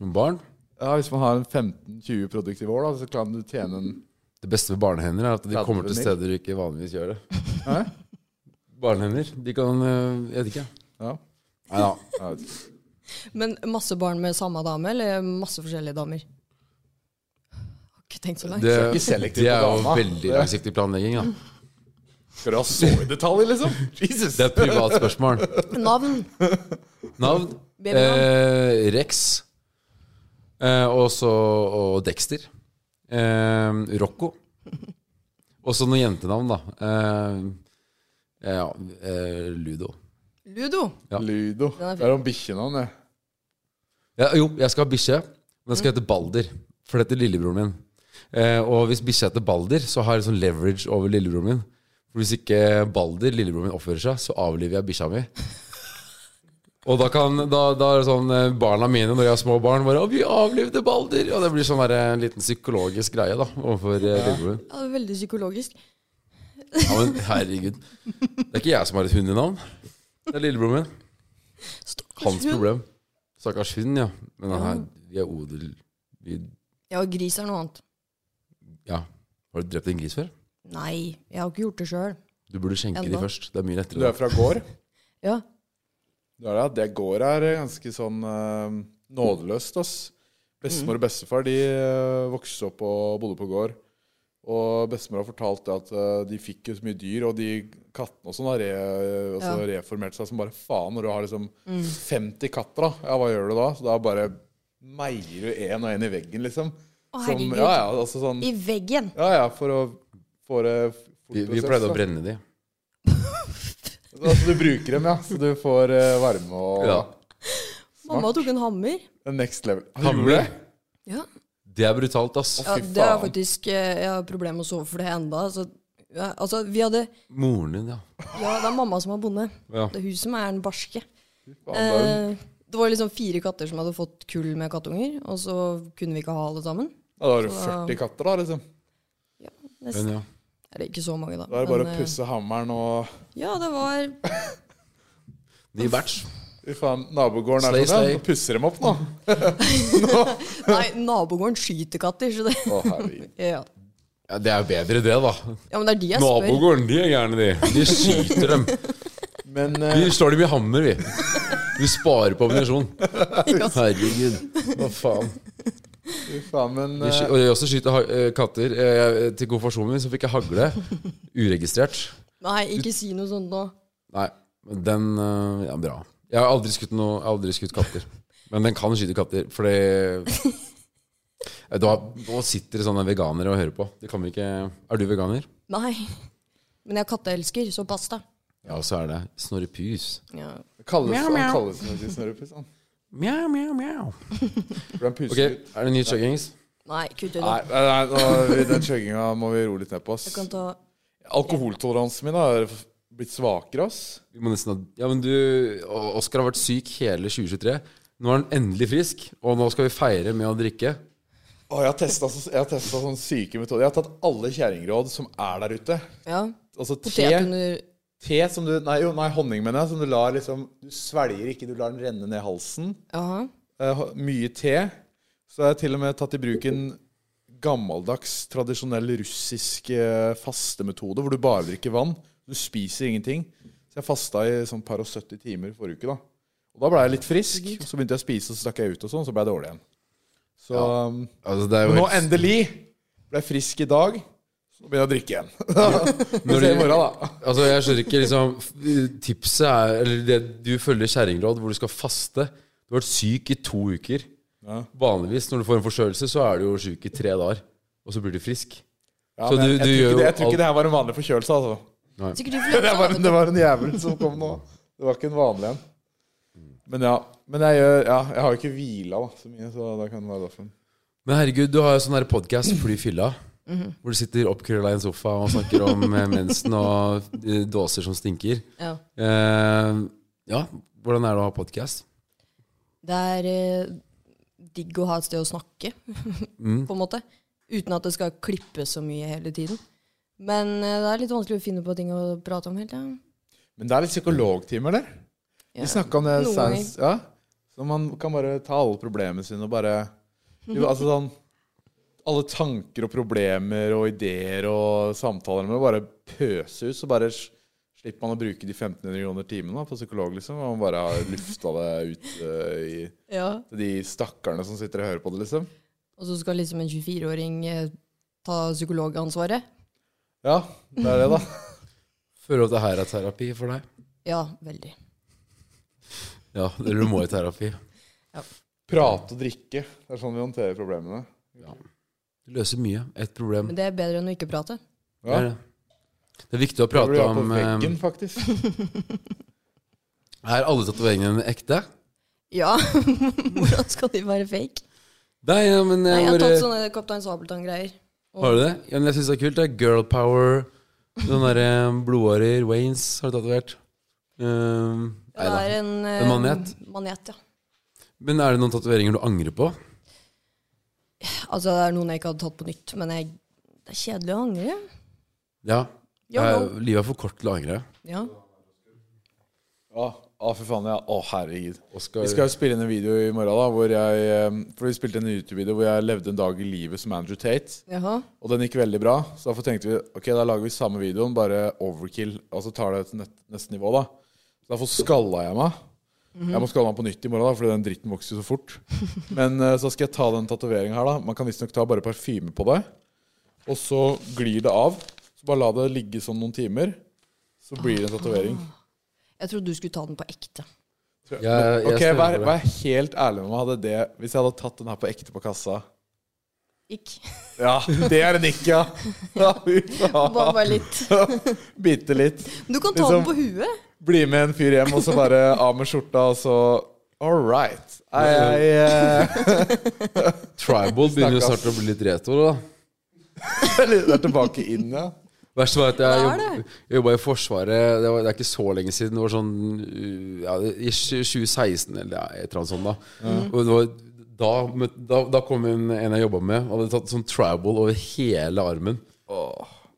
Men barn
Ja, Hvis man har en 15-20 produkt i vår, da, så kan du tjene en
Det beste med barnehender er at de
30
kommer til
mil.
steder du ikke vanligvis gjør det.
Hæ?
Barnehender. De kan øh, Jeg vet ikke.
Ja.
Nei da.
jeg vet ikke.
Men masse barn med samme dame, eller masse forskjellige damer? Har ikke tenkt så langt.
Det,
ikke selektivt
det er
på
jo
dama.
veldig langsiktig planlegging, da.
Skal du ha så i detalj, liksom? Jesus!
Det er et privat spørsmål.
Navn?
Navn?
Babynavn.
Eh, Rex. Eh, og så og Dexter. Eh, Rocco. Og så noen jentenavn, da. Eh, ja, eh, Ludo.
Ludo?
Ja.
Ludo.
Den er fin.
Det er om bikkjenavn, det.
Ja, jo, jeg skal ha bikkje. Men den skal hete Balder. For det heter lillebroren min. Eh, og hvis bikkja heter Balder, så har jeg sånn leverage over lillebroren min. For hvis ikke Balder, lillebroren min, oppfører seg, så avliver jeg bikkja mi. Og da kan da, da er det sånn eh, barna mine, når jeg har små barn, bare 'Å, vi avlivde Balder!' Og det blir sånn der, eh, en liten psykologisk greie da overfor eh, lillebroren min.
Ja, det er veldig psykologisk.
Ja, men herregud. Det er ikke jeg som har et hundenavn. Det er lillebroren min.
Stakkars
Hans
hund.
problem. Stakkars hund, ja. Men han er, vi er odel... Vi
Ja, gris er noe annet.
Ja. Har du drept en gris før?
Nei, jeg har ikke gjort det sjøl.
Du burde skjenke
Enda.
de først. Det er mye
Du
lettere.
er fra gård?
Ja.
Ja, ja, det går er ganske sånn eh, nådeløst, ass. Bestemor
Mm.
og bestefar de eh, vokste opp og bodde på gård. Og bestemor har fortalt det at eh, de fikk jo så mye dyr, og de kattene og sånn har re, altså, reformert seg som bare faen. Når du har liksom
Mm.
50 katter, da, ja, hva gjør du da? Så da bare meier du én og én i veggen, liksom.
Å,
Som,
herregud.
ja, ja, altså sånn
I veggen.
Ja, ja, for å få det fort
Vi, vi
prosess,
pleide
da.
å brenne de.
Altså, du bruker dem, ja. Så du får eh, varme og
Ja.
Mamma tok en hammer.
Next level.
Hammer.
Ja.
Det er brutalt, ass.
ja
fy
det er
faen.
faktisk eh, Jeg har problemer med å sove for det enda. Så, ja, altså, vi hadde
Moren din, ja.
Ja, det er mamma som er bonde.
ja.
Det er hun som er den barske.
Faen, det er jo-
Eh, det var liksom fire katter som hadde fått kull med kattunger, og så kunne vi ikke ha alle sammen.
Ja, da har du
så-
40 katter, da. liksom.
Nesten.
Men ja.
Eller ikke så mange, da.
Da er det bare
men,
å
eh,
pusse hammeren og
Ja, det var
Ny batch.
Fy faen, nabogården er
Slay,
sånn,
slay.
ja. Nå pusser dem opp, nå.
Nei, nabogården skyter katter, så det
Å, herregud.
Ja,
Ja, det er jo bedre det, da.
ja men det er de jeg spør.
Nabogården, de er gærne, de. De skyter dem.
Men eh,
Vi slår dem i hammer, vi. Vi sparer på ammunisjon. Herregud. Hva faen.
Fy faen, men
De sky-
eh,
Og jeg også skyter ha- eh, katter. Eh, Til konfirmasjonen min så fikk jeg hagle. Uregistrert.
Nei, ikke si noe sånt nå.
Nei, men den eh, ja, bra. Jeg har aldri skutt, noe, jeg har aldri skutt katter. Men den kan skyte katter, fordi Eh, da, Nå sitter det sånne veganere og hører på. Det kan vi ikke Er du veganer?
Nei. Men jeg er katteelsker, så pass deg.
Ja, og så er det Snorre Pus.
Ja.
kalles,
Mjau,
han
mjau.
kalles nok i snørrepus, han.
Mjau, mjau, mjau.
For sånn. han puser
Ok,
okay.
er det nye chuggings?
Nei, kutt ut.
Nei, nei, nei nå, den chugginga må vi roe litt ned på.
Du
ass
kan ta
Alkoholtoleransen min har blitt svakere, ass.
Vi må nesten ha Ja, men du O- Oskar har vært syk hele 2023. Nå er han endelig frisk, og nå skal vi feire med å drikke.
Å, jeg har testa sånne syke metoder. Jeg har tatt alle kjerringråd som er der ute.
ja.
Altså te,
potet under
te som du Nei, jo, nei honning, mener jeg. Som du lar liksom Du svelger ikke, du lar den renne ned halsen.
Jaha.
Eh, ho- mye te. Så har jeg til og med tatt i bruk en gammeldags, tradisjonell russisk eh, fastemetode, hvor du bare drikker vann. Du spiser ingenting. Så jeg fasta i sånn par og 70 timer forrige uke, da. Og da ble jeg litt frisk. Så begynte jeg å spise, og så stakk jeg ut, og sånn, så ble jeg dårlig igjen. Så um,
Altså, det er jo
Men nå
helt-
endelig ble jeg frisk i dag. Så nå begynner jeg å drikke igjen. Vi ser i morgen, da.
Altså, jeg skjønner ikke liksom f- Tipset er Eller det, du følger kjerringråd hvor du skal faste. Du har vært syk i to uker.
Ja.
Vanligvis når du får en forkjølelse, så er du jo syk i tre dager. Og så blir du frisk.
Ja,
Så
men
du-
jeg, jeg,
du
tror
gjør
ikke
jo
det, jeg tror
alt-
ikke det her var en vanlig forkjølelse, altså.
Sikkert du
Det var,
får
det var en jævel som kom nå. Det var ikke en vanlig en. Men ja. Men jeg, gjør- ja, jeg har jo ikke hvila da, så mye, så da kan det være derfor.
Men herregud, du har jo sånn her podkast, Fly fylla, hvor du sitter oppkrølla i en sofa og snakker om eh, mensen og eh, dåser som stinker.
ja.
Eh, ja, hvordan er det å ha podkast?
Det er eh, digg å ha et sted å snakke, på en måte. Uten at det skal klippes så mye hele tiden. Men eh, det er litt vanskelig å finne på ting å prate om hele tida.
Men det er litt psykologtimer der.
Ja.
Vi snakka om det
Noen
sans, ja. Så man kan bare ta alle problemene sine og bare jo, Altså sånn Alle tanker og problemer og ideer og samtaler med bare pøse ut, så bare s- slipper man å bruke de 1500 kroner timen da, på psykolog, liksom. Og man bare har lufta det ut eh, i,
Ja.
til de stakkarene som sitter og hører på det, liksom.
Og så skal liksom en 24-åring eh, ta psykologansvaret.
Ja, det er det, da.
Føler du at det her er terapi for deg?
Ja, veldig.
Ja, eller du må i terapi.
Prate og drikke. Det er sånn vi håndterer problemene.
Du løser mye. Ett problem.
Men det er bedre enn å ikke prate.
Det
Ja.
er, det. det er viktig å
Da blir
prate
jeg på
om
veggen,
eh,
faktisk.
Er alle tatoveringene dine ekte?
Ja, hvordan skal de være fake?
Nei, ja, men
Nei,
jeg,
jeg har
bare,
tatt sånn- sånne Kaptein Sabeltann-greier.
Har du det? Ja, men jeg syns det er kult. Det er girl power. Sånn derre blodårer, Waynes har du tatovert. Um,
Ja, det er en, eh,
En manet?
manet, ja.
men er det noen tatoveringer du angrer på?
Altså, det er noen jeg ikke hadde tatt på nytt, men jeg, det er kjedelig å angre.
Ja.
Ja,
Er-
no.
Livet er for kort til å angre.
Ja.
Ja, ah, for faen. Ja. Å, herregud.
Oscar,
Vi skal jo spille inn en video i morgen, da, hvor jeg, eh, for vi spilte inn en YouTube-video hvor jeg levde en dag i livet som Andrew Tate.
Jaha.
Og den gikk veldig bra, så derfor tenkte vi ok, da lager vi samme videoen, bare overkill. Altså tar det til nett, neste nivå, da. Så derfor skalla jeg meg. Jeg må skalle meg på nytt i morgen, da, fordi den dritten vokser jo så fort. Men eh, så skal jeg ta den tatoveringa her, da. Man kan visstnok ta bare parfyme på det. Og så glir det av. Så bare la det ligge sånn noen timer. Så blir det en tatovering.
Jeg trodde du skulle ta den på ekte.
jeg, jeg
Ok,
stemmer
vær,
for det.
vær helt ærlig med meg. Hadde det, hvis jeg hadde tatt den her på ekte på kassa
Ikk.
Ja, det er en nikk, ja! ja fy
Bare,
faen.
bare litt.
Bitte litt.
Du kan ta
Liksom-
den på huet.
Bli med en fyr hjem, og så bare av med skjorta, og så All right. Jeg, jeg, eh,
Tribal begynner jo
Stakkars.
snart å bli litt retro. da
jeg er tilbake inn, ja.
Verst var at jeg
Hva er
jobb, jobba i Forsvaret det, var, det er ikke så lenge siden. Det var sånn uh, ja, det- i 2016 eller ja, et eller annet sånt. Da
Mm.
Og det var, da, møt- da, da kom en, en jeg jobba med, og hadde tatt sånn tribal over hele armen.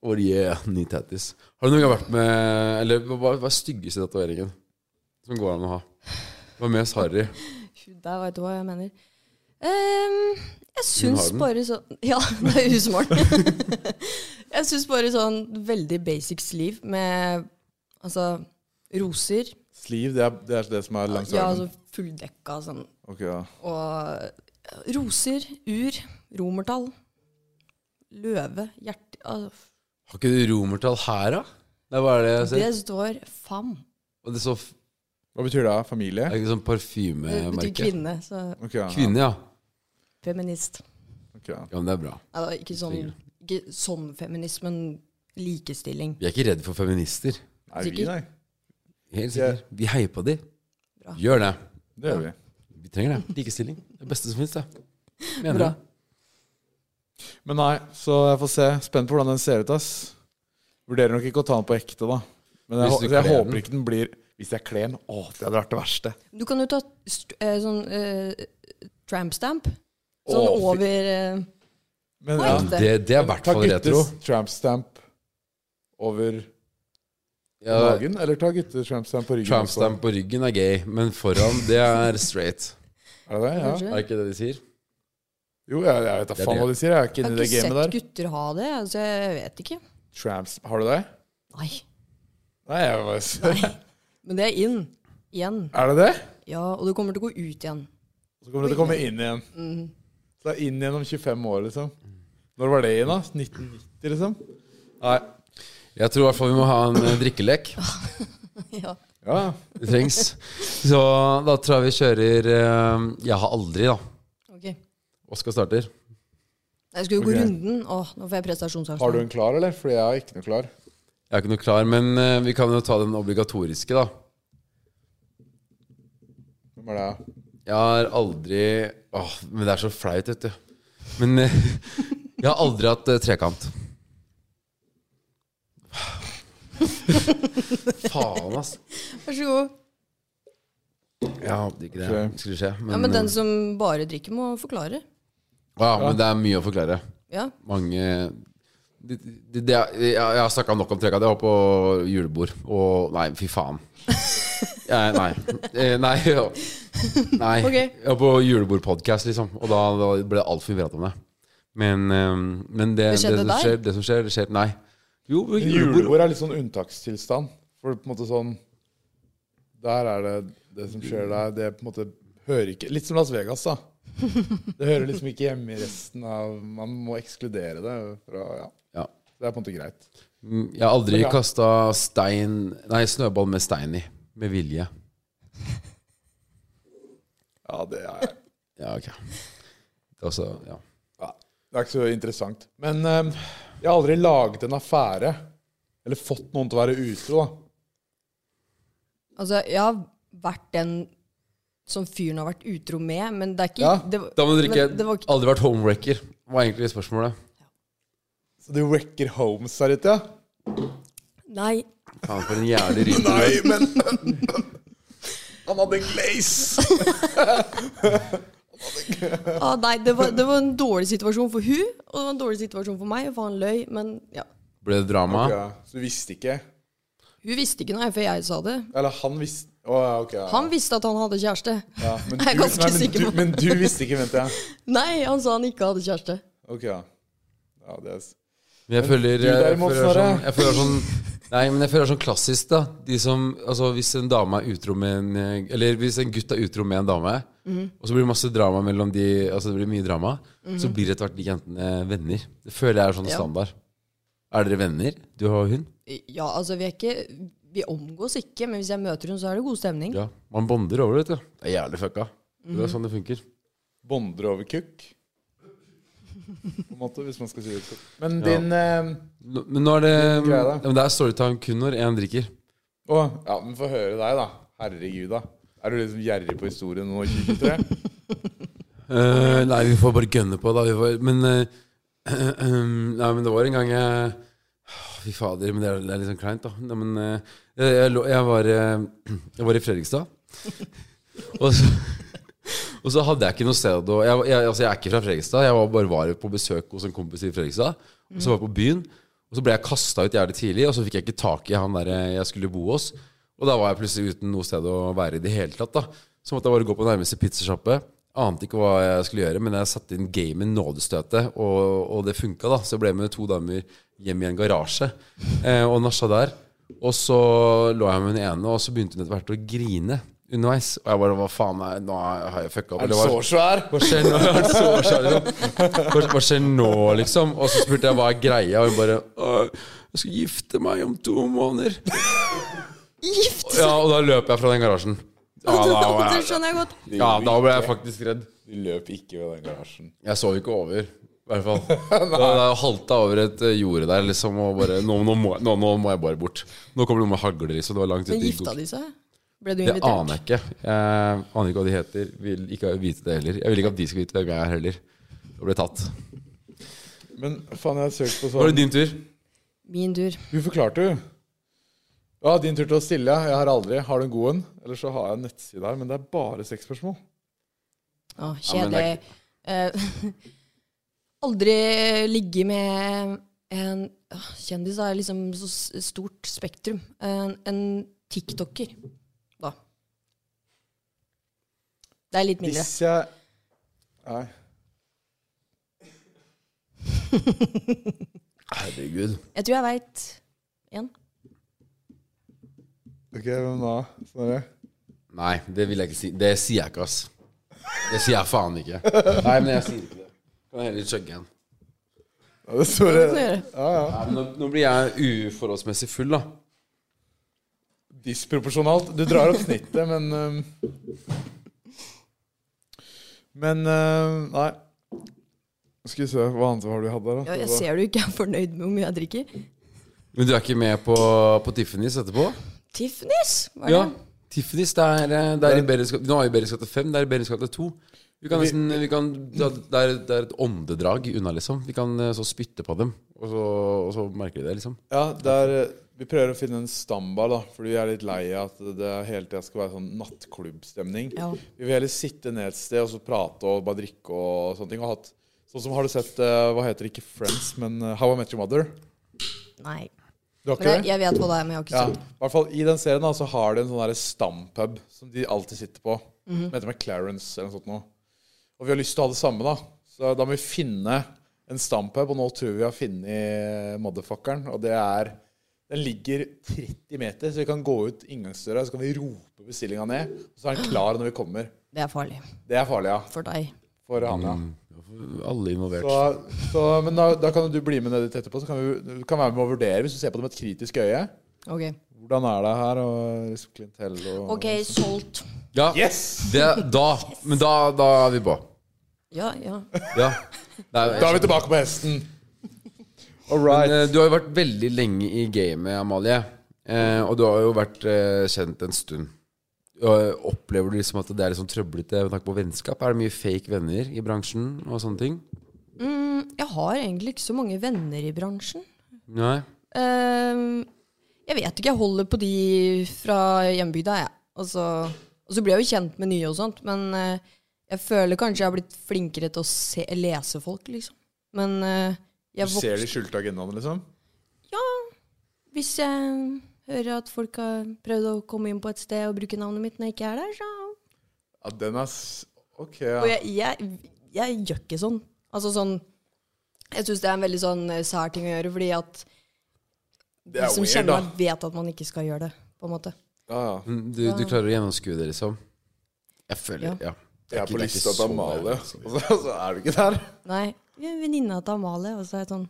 Og yeah, ny tattis. Har du noen gang vært med Eller hva hva er styggeste tatoveringen som går an å ha? Det var mest harry.
Der veit du hva jeg mener. Ehm, jeg
Hun
syns
har den.
bare sånn Ja, det er husmoren. jeg syns bare sånn veldig basics liv med altså roser.
Sleeve, det er det, er det som er langs
Ja, altså
armen?
fulldekka sånn.
Ok, ja.
Og roser, ur, romertall, løve, hjerte ah,
Har ikke du romertall her, da? Det er bare det jeg
Det
ser.
står fam.
Og det er så f-
Hva betyr det? Familie?
er det ikke sånn
Det betyr
parfymemerke.
kvinne, så
Ok, ja.
Kvinne, ja.
feminist.
ok, ja.
Ja, men det er bra.
Nei, det er ikke sånn, ikke sånn feminist, men likestilling.
Vi er ikke redd for feminister.
Nei, vi,
Sikker?
nei.
Helt sikkert. Vi heier på de.
Bra.
Gjør det.
Det gjør vi.
Vi trenger det. Likestilling. Det beste som finnes, det. Mener
Bra.
det.
Men nei, så jeg får se. Spent på hvordan den ser ut, ass. Vurderer nok ikke å ta den på ekte, da. Men jeg,
Hvis du
hå- så jeg
kler
håper
den.
ikke den blir Hvis jeg kler den, å, det hadde vært det verste.
Du kan jo ta st eh, sånn eh, tramp stamp. Sånn
Å, fy-
over eh,
Men
Oi.
ja,
Ja, det, det er i hvert
ta
fall retro.
guttes tramp stamp over
Ja,
magen, eller ta guttes tramp stamp på ryggen.
Tramp
også?
stamp på ryggen er gay, men foran, det er straight.
Er det det? Ja.
kanskje.
Er det ikke det de sier?
Jo, jeg, jeg vet da
Det er
faen
det.
hva de sier. Jeg er ikke
Jeg
inne i
har
det
ikke
gamet
sett
der.
gutter ha det, så jeg vet ikke.
Tramps. Har du det?
Nei.
Nei, jeg bare
Men det er inn. Igjen.
Er det det?
Ja, og det kommer til å gå ut igjen.
Så kommer det til å komme inn igjen.
Mm.
Så det er inn igjen om 25 år, liksom. Når var det inn, da? 1990, liksom? Nei.
Jeg tror i hvert fall vi må ha en eh, drikkelek.
Ja.
Ja.
Det trengs. Så da tror jeg vi kjører eh, Jeg har aldri, da.
Ok. Nei,
Oskar starter.
Jeg skulle jo gå
Ok.
runden. Åh, nå får jeg prestasjonsangst.
Har du en klar, eller? Fordi jeg har ikke noe klar.
Jeg er ikke noe klar, men eh, vi kan jo ta den obligatoriske, da.
Hvem er det?
Jeg har aldri Åh, men det er så flaut, vet du. Men eh, jeg har aldri hatt eh, trekant. Faen, ass.
Vær så god.
Jeg håpet ikke det
Ok.
skulle skje. Men,
Ja, men
eh,
den som bare drikker, må forklare.
ja, men det er mye å forklare.
Ja.
Mange det, det, det, er- Jeg, jeg har snakka nok om trekant. Jeg var på julebord, og Nei, fy faen. Jeg, nei. Eh, Nei. ja. nei.
Ok.
Jeg var på julebordpodkast, liksom, og da, da ble det altfor mye prat om det. Men, eh, men det,
Det skjedde
det, som
der?
skjer, det som skjer, det skjer Nei. Jo, julebord
Julebord er litt sånn unntakstilstand. For på en måte sånn Der er det det som skjer der. Det på en måte hører ikke Litt som Las Vegas, da. Det hører liksom ikke hjemme i resten av Man må ekskludere det fra Ja.
ja.
Det er på en måte greit.
Mm, Jeg har aldri
Ja.
kasta stein Nei, snøball med stein i. Med vilje.
Ja, det er
Ja, ok. Det er også, ja.
Ja, det er ikke så interessant. Men eh, jeg har aldri laget en affære. Eller fått noen til å være utro, da.
Altså, jeg har vært den som fyren har vært utro med, men det er ikke
Ja,
det, var-
Da må du drikke
men det var ikke,
Aldri vært homewrecker, var egentlig spørsmålet.
Så du wrecker homes her ute, ja?
Nei.
Faen, for en jævlig rype.
Nei, men Han hadde glaze!
Ah, nei det, var, det var en dårlig situasjon for hun, og det var en dårlig situasjon for meg, for han løy. Men ja,
Ble det drama?
Ja, så du visste ikke?
hun visste ikke noe før jeg sa det.
Eller han visste Å, ja, ok. Ja.
Han visste at han hadde kjæreste.
ja, men
Jeg er ganske
nei, men
sikker
du-
på det.
Men du visste ikke, venter jeg.
Nei, han sa han ikke hadde kjæreste.
Ok, ja. ja det er... s-
Men jeg føler,
du
jeg,
derimot,
føler
Snorre?
sånn, jeg føler sånn Nei, men jeg føler sånn klassisk, da. De som, altså Hvis en dame er utro med en eh, Eller hvis en gutt er utro med en dame,
Mhm.
og så blir det masse drama mellom de Altså det blir mye drama, så
Mhm.
blir etter hvert de jentene venner. Det føler jeg er sånn
Ja.
standard. Er dere venner, du og hun?
Ja, altså, vi er ikke Vi omgås ikke, men hvis jeg møter henne, så er det god stemning.
Ja. Man bonder over det, vet du. Det er jævlig fucka.
Mhm.
Det er sånn det funker.
Bonder over kukk. På en måte, hvis man skal si det sånn. Men din eh,
Nå- Men nå er det
Liten greie, da.
ja, men Det er storytime kun når én drikker.
Å, ja, men få høre deg, da. Herregud, da. Er du liksom gjerrig på historien nå, 2023?
Eh, nei, vi får bare gønne på, da. Vi får, men eh, Nei, men det var en gang jeg Åh, Fy fader, men det er, det er litt sånn kleint, da. Nei, men eh, jeg, jeg, lå- jeg, var, eh, jeg var i Fredrikstad. Og så, og så hadde jeg ikke noe sted å jeg, jeg, altså, jeg er ikke fra Fredrikstad. Jeg var bare var på besøk hos en kompis i Fredrikstad. Og så var jeg på byen, og så ble jeg kasta ut jævlig tidlig. Og så fikk jeg ikke tak i han der eh, jeg skulle bo hos. Og da var jeg plutselig uten noe sted å være i det hele tatt. da Så måtte jeg bare gå på nærmeste pizzasjappe. Ante ikke hva jeg skulle gjøre, men jeg satte inn gamet nådestøtet, og, og det funka, da. Så jeg ble med to damer hjem i en garasje eh, og nasja der. Og så lå jeg med den ene, og så begynte hun etter hvert å grine underveis. Og jeg bare Hva faen er Nå har jeg fucka opp.
Er du
eller hva-
så svær?
hva skjer nå? Jeg er så skjær, liksom. Hva, hva skjer nå, liksom? Og så spurte jeg hva er greia, og hun bare «Åh, Jeg skal gifte meg om to måneder.
Gift!
Ja, og da løp jeg fra den garasjen. Ja, da, var
det
jeg,
skjønner jeg godt.
ja, da ble jeg faktisk redd.
De løp ikke ved den garasjen.
Jeg så jo ikke over. I hvert fall. Da da halta over et eh, jorde der, liksom, og bare nå, nå, må, jeg- nå, nå må jeg bare bort. Nå kommer det noen med hagler, liksom. Det var langt ute
Men
i
gifta de seg? Ble du
Det aner
invitert?
jeg ikke. Jeg aner ikke hva de heter. Vil ikke vite det heller. Jeg vil ikke at de skal vite hvem jeg er heller. Og ble tatt.
Men faen, jeg har søkt på
Var
sånn
det din tur?
Min tur.
Du forklarte jo. Ja, din tur til å stille. ja. Jeg har aldri. Har du en god en? Eller så har jeg en nettside her, men det er bare sexspørsmål.
Å,
Ja, men det er
kjedelig. Eh, aldri ligge med en Åh, Kjendis er liksom så s- stort spektrum. En, en tiktoker, da. Det er litt mindre.
Hvis jeg Nei.
Herregud.
Jeg tror jeg veit én.
Ok, hvem da? Snorre?
Nei, det vil jeg ikke si. Det sier jeg ikke, ass. Det sier jeg faen ikke. Nei, men jeg sier ikke det. Kan jeg heller chugge en.
Ja, det er Snorre.
gjøre.
Ja, ja.
Nei, men nå, nå blir jeg uforholdsmessig full, da.
Disproporsjonalt. Du drar opp snittet, men um, Men um, Nei. Skal vi se hva annet var det vi hadde her, da?
Ja, jeg ser du ikke er fornøyd med hvor mye jeg drikker.
Men du er ikke med på, på Tiffany's etterpå?
Tiffany's, var det?
Ja. Tiffany's, det er, eh, det er i Bergens gate Nå er vi i Bergens gate 5, det er i Bergens gate 2. Vi kan nesten, vi kan, det er- det er, det er et åndedrag unna, liksom. Vi kan eh, så spytte på dem, og så, og så merker de det, liksom.
Ja, der, øh, Vi prøver å finne en stambar, da, fordi vi er litt lei av at det hele tida skal være sånn nattklubbstemning.
Ja.
Vi vil heller sitte ned et sted og så prate og bare drikke og sånne ting. Og hatt, sånn som Har du sett eh, Hva heter det, ikke Friends, men eh, How I Met Your Mother?
Nei.
Du har
Men
ikke
jeg,
det?
jeg vet hva det er, men jeg har ikke
Ja,
sett det.
i hvert fall I den serien da, så har de en sånn der stampub som de alltid sitter på. Den heter McLarence eller noe sånt. Nå. Og vi har lyst til å ha det samme, da. Så da må vi finne en stampub, og nå tror vi vi har funnet motherfuckeren. Og det er Den ligger 30 meter, så vi kan gå ut inngangsdøra, så kan vi rope bestillinga ned, og så er den klar når vi kommer.
Det er farlig
Det er farlig, ja.
for deg.
For han, ja.
Mm. Alle involvert.
Så, så, men da, da kan jo du bli med ned dit etterpå, så kan vi, du kan være med og vurdere, hvis du ser på det med et kritisk øye.
Ok,
Hvordan er det her, og liksom klientell og
Ok, solgt.
Ja,
Yes!
det, da, men da, da er vi på.
Ja, ja.
Ja. Nei,
Da er vi tilbake på hesten. All
Men,
right.
eh, du har jo vært veldig lenge i gamet, Amalie. Eh, og du har jo vært eh, kjent en stund. Og opplever du liksom at det er litt sånn trøblete med tanke på vennskap? Er det mye fake venner i bransjen og sånne ting?
Mm, jeg har egentlig ikke så mange venner i bransjen.
Nei.
Ehm, jeg vet ikke, jeg holder på de fra hjembygda, jeg. Og så, og så blir jeg jo kjent med nye og sånt, men eh, jeg føler kanskje jeg har blitt flinkere til å se, lese folk, liksom. Men eh, jeg
Du
vok-
ser de skjulte agendaene, liksom?
hvis jeg hører at folk har prøvd å komme inn på et sted og bruke navnet mitt når jeg ikke er der, så
Ja, den er s Ok,
Og
ja.
jeg, jeg, jeg gjør ikke sånn. Altså sånn Jeg syns det er en veldig sånn eh, sær ting å gjøre, fordi at
Det
de
er
som
weird,
kjenner
da.
meg, vet at man ikke skal gjøre det, på en måte.
Ja, ja.
Men Du, du klarer å gjennomskue det, liksom? Jeg føler
Ja.
Ja.
Jeg
Det
er
ikke-
på
det ikke
lista til
så
Amalie,
jævlig,
og
altså.
så så er du ikke der.
Nei, vi er venninna til Amalie, og så er jeg sånn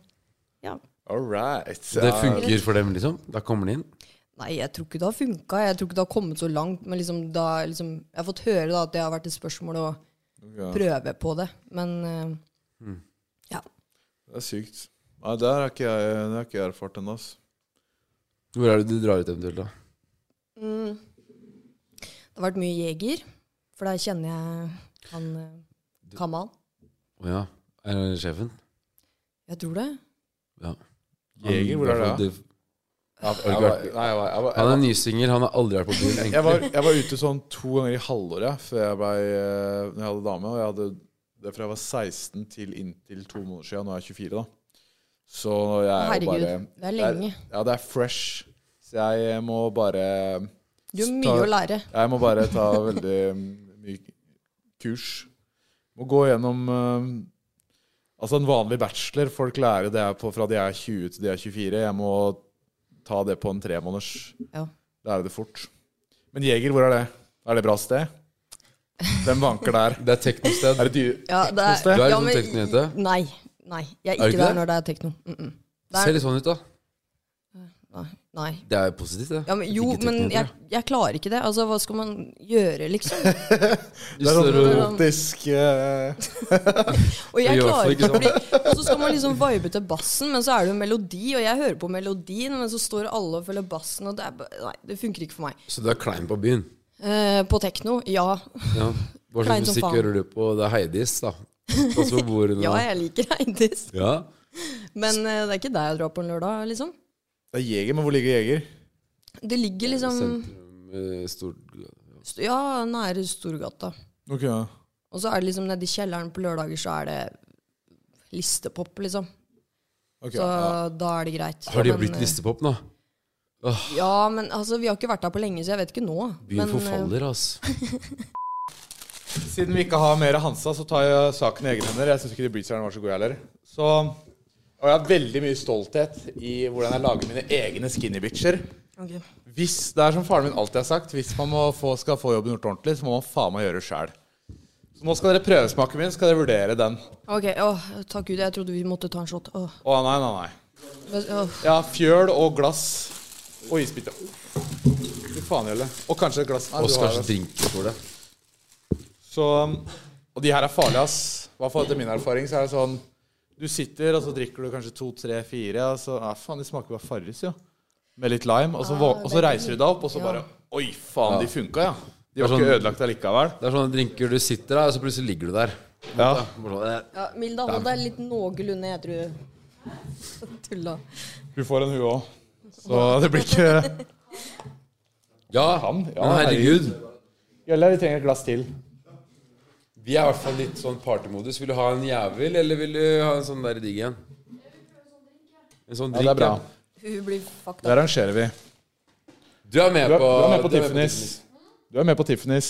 Ja.
All right.
Så det funker for dem, liksom? Da kommer de inn?
Nei, jeg tror ikke det har funka. Jeg tror ikke det har kommet så langt. Men liksom, da, liksom, jeg har fått høre da, at det har vært et spørsmål å
Ja,
prøve på det. Men eh, ja.
det er sykt. Nei, der har ikke jeg, det har ikke jeg erfart ennå, ass.
Hvor er det du drar ut eventuelt, da?
Mm. Det har vært mye jeger, for der kjenner jeg han eh, Kamal.
Å ja. Er det sjefen?
Jeg tror det.
Ja.
Jeger, hvor er det, da?
det?
Jeg
du ikke
var-
vært-
nei, jeg var- jeg var- jeg
Han
var-
er nysingel, han har aldri vært på byen. egentlig.
Jeg var, jeg var ute sånn to ganger i halvåret jeg, før jeg ble, eh, når jeg hadde dame. Og jeg hadde det fra jeg var 16 til inntil to måneder siden. Nå er jeg 24, da. Så jeg er jo
Herregud,
bare
det er lenge.
Ja, det er fresh. Så jeg må bare
Du har
Ta-
mye å lære.
Jeg må bare ta veldig mye kurs. Må gå gjennom eh, Altså, en vanlig bachelor Folk lærer det på fra de er 20 til de er 24. Jeg må ta det på en tremåneders.
Ja.
Lære det fort. Men jeger, hvor er det? Er det bra sted? Hvem vanker der?
Det er teknosted.
Er det dyr...
Ja, det
Teknosted?
er,
Du er
ja,
liksom
men-
teknojente?
Nei. Nei, jeg er
Er du
ikke
ikke
der
det?
når det er tekno. Mm -mm.
Ser litt sånn ut, da.
Nei. nei.
Det er jo positivt, det.
Ja, men, jo,
Digge
men
teknojenter,
jeg, jeg klarer ikke det. Altså, hva skal man gjøre, liksom?
Du står og
og-
romantisk eh,
Og jeg
Det gjør
klarer
folk,
ikke, fordi
sånn.
og Så skal man liksom vibe til bassen, men så er det jo melodi, og jeg hører på melodien, men så står alle og følger bassen, og det er bare Nei, det funker ikke for meg.
Så du er klein på byen?
Eh, på tekno, ja.
Ja. Hva
Klein
slags
som
musikk
faen.
hører du på? Det er Heidis, da. Og så bor hun
Ja, jeg liker Heidis,
ja.
men eh, det er ikke der jeg drar på en lørdag, liksom.
Det er Jeger, men hvor ligger Jeger?
Det ligger liksom
Sentrum, eh, stor...
st- Ja, nære Storgata.
Ok, ja.
Og så er det liksom nede i kjelleren på lørdager, så er det listepop, liksom.
Ok,
Så
ja.
da er det greit.
Har de
Men,
blitt
eh,
listepop nå?
Ja, men altså, vi har ikke vært der på lenge, så jeg vet ikke nå.
Byen
men, eh,
forfaller, altså.
Siden vi ikke har mer Hansa, så tar jeg saken i egne hender. Jeg syns ikke de breezerne var så gode heller. Så Og jeg har veldig mye stolthet i hvordan jeg lager mine egne skinny bitcher.
ok.
Hvis det er som faren min alltid har sagt, hvis man må få, skal få jobben gjort ordentlig, så må man faen meg gjøre det sjæl. Så nå skal dere prøvesmake min, skal dere vurdere den.
Ok, åh, takk Gud, jeg trodde vi måtte ta en shot. Åh,
Å nei, nei, nei.
men- åh.
Ja, fjøl og glass og isbiter. Fy faen, Jelle. Og kanskje et glass. Nei,
Og
du
så
har
kanskje
det.
drinker for det.
Så, um, og de her er farlige, ass. I hvert fall etter min erfaring så er det sånn Du sitter, og så drikker du kanskje to, tre, fire, og så Ja, faen, de smaker bare Farris, jo. Med litt lime. Og så, vå- og så reiser du deg opp, og så
Ja.
bare Oi, faen, de funka, ja. De var
Det er
ikke
sånn-
ødelagt allikevel.
Det er sånne drinker du sitter der, og så plutselig ligger du der.
Ja.
Bare sånn, eh,
Ja, Milda, hold deg litt noenlunde edru. Tulla.
Hun får en, hun òg. Så det blir ikke
Ja,
Kan, ja,
men herregud.
Jelle, vi trenger et glass til.
Vi er i hvert fall litt sånn partymodus. Vil du ha en jævel, eller vil du ha en sånn der digg en? En sånn
Ja, det
drink,
er bra.
Hun blir fucked
Det
up.
arrangerer vi.
Du er med
Du er,
på
du er med på
du er
Tiffany's. Du er med på Tiffany's.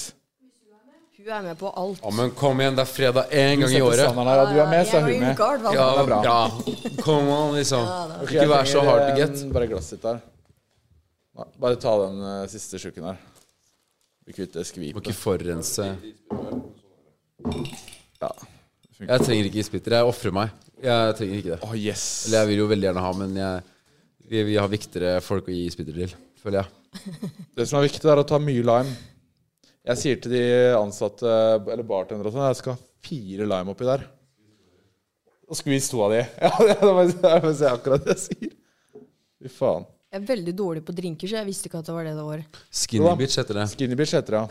Hun er med på alt.
Ja, men kom igjen, det er fredag én gang i
Setter
året.
standarden her, ja, Du er med, så er
Jeg
hun
var i
med.
uka, i hvert fall.
Ja,
det er bra.
ja. Come on, liksom.
Ok,
Ikke
jeg
vær så
trenger,
hard to
eh,
get.
Bare glasset ditt der. Nei, bare ta den eh, siste slukken her. Vi kutter
Må
skvipet.
ikke forurense.
Ja.
Jeg trenger ikke isbiter. Jeg ofrer meg. Jeg trenger ikke det.
Å, yes!
Eller jeg vil jo veldig gjerne ha, men jeg, vi, vi har viktigere folk å gi isbiter til, føler jeg.
Det som er viktig, er å ta mye lime. Jeg sier til de ansatte, eller bartendere og sånn, jeg skal ha fire lime oppi der. Og skvis to av de. Ja, det er bare- det er bare så akkurat det jeg sier. Fy faen.
Jeg er veldig dårlig på drinker, så jeg visste ikke at det var det det var.
Skinny bitch heter det.
Skinny bitch heter det, ja.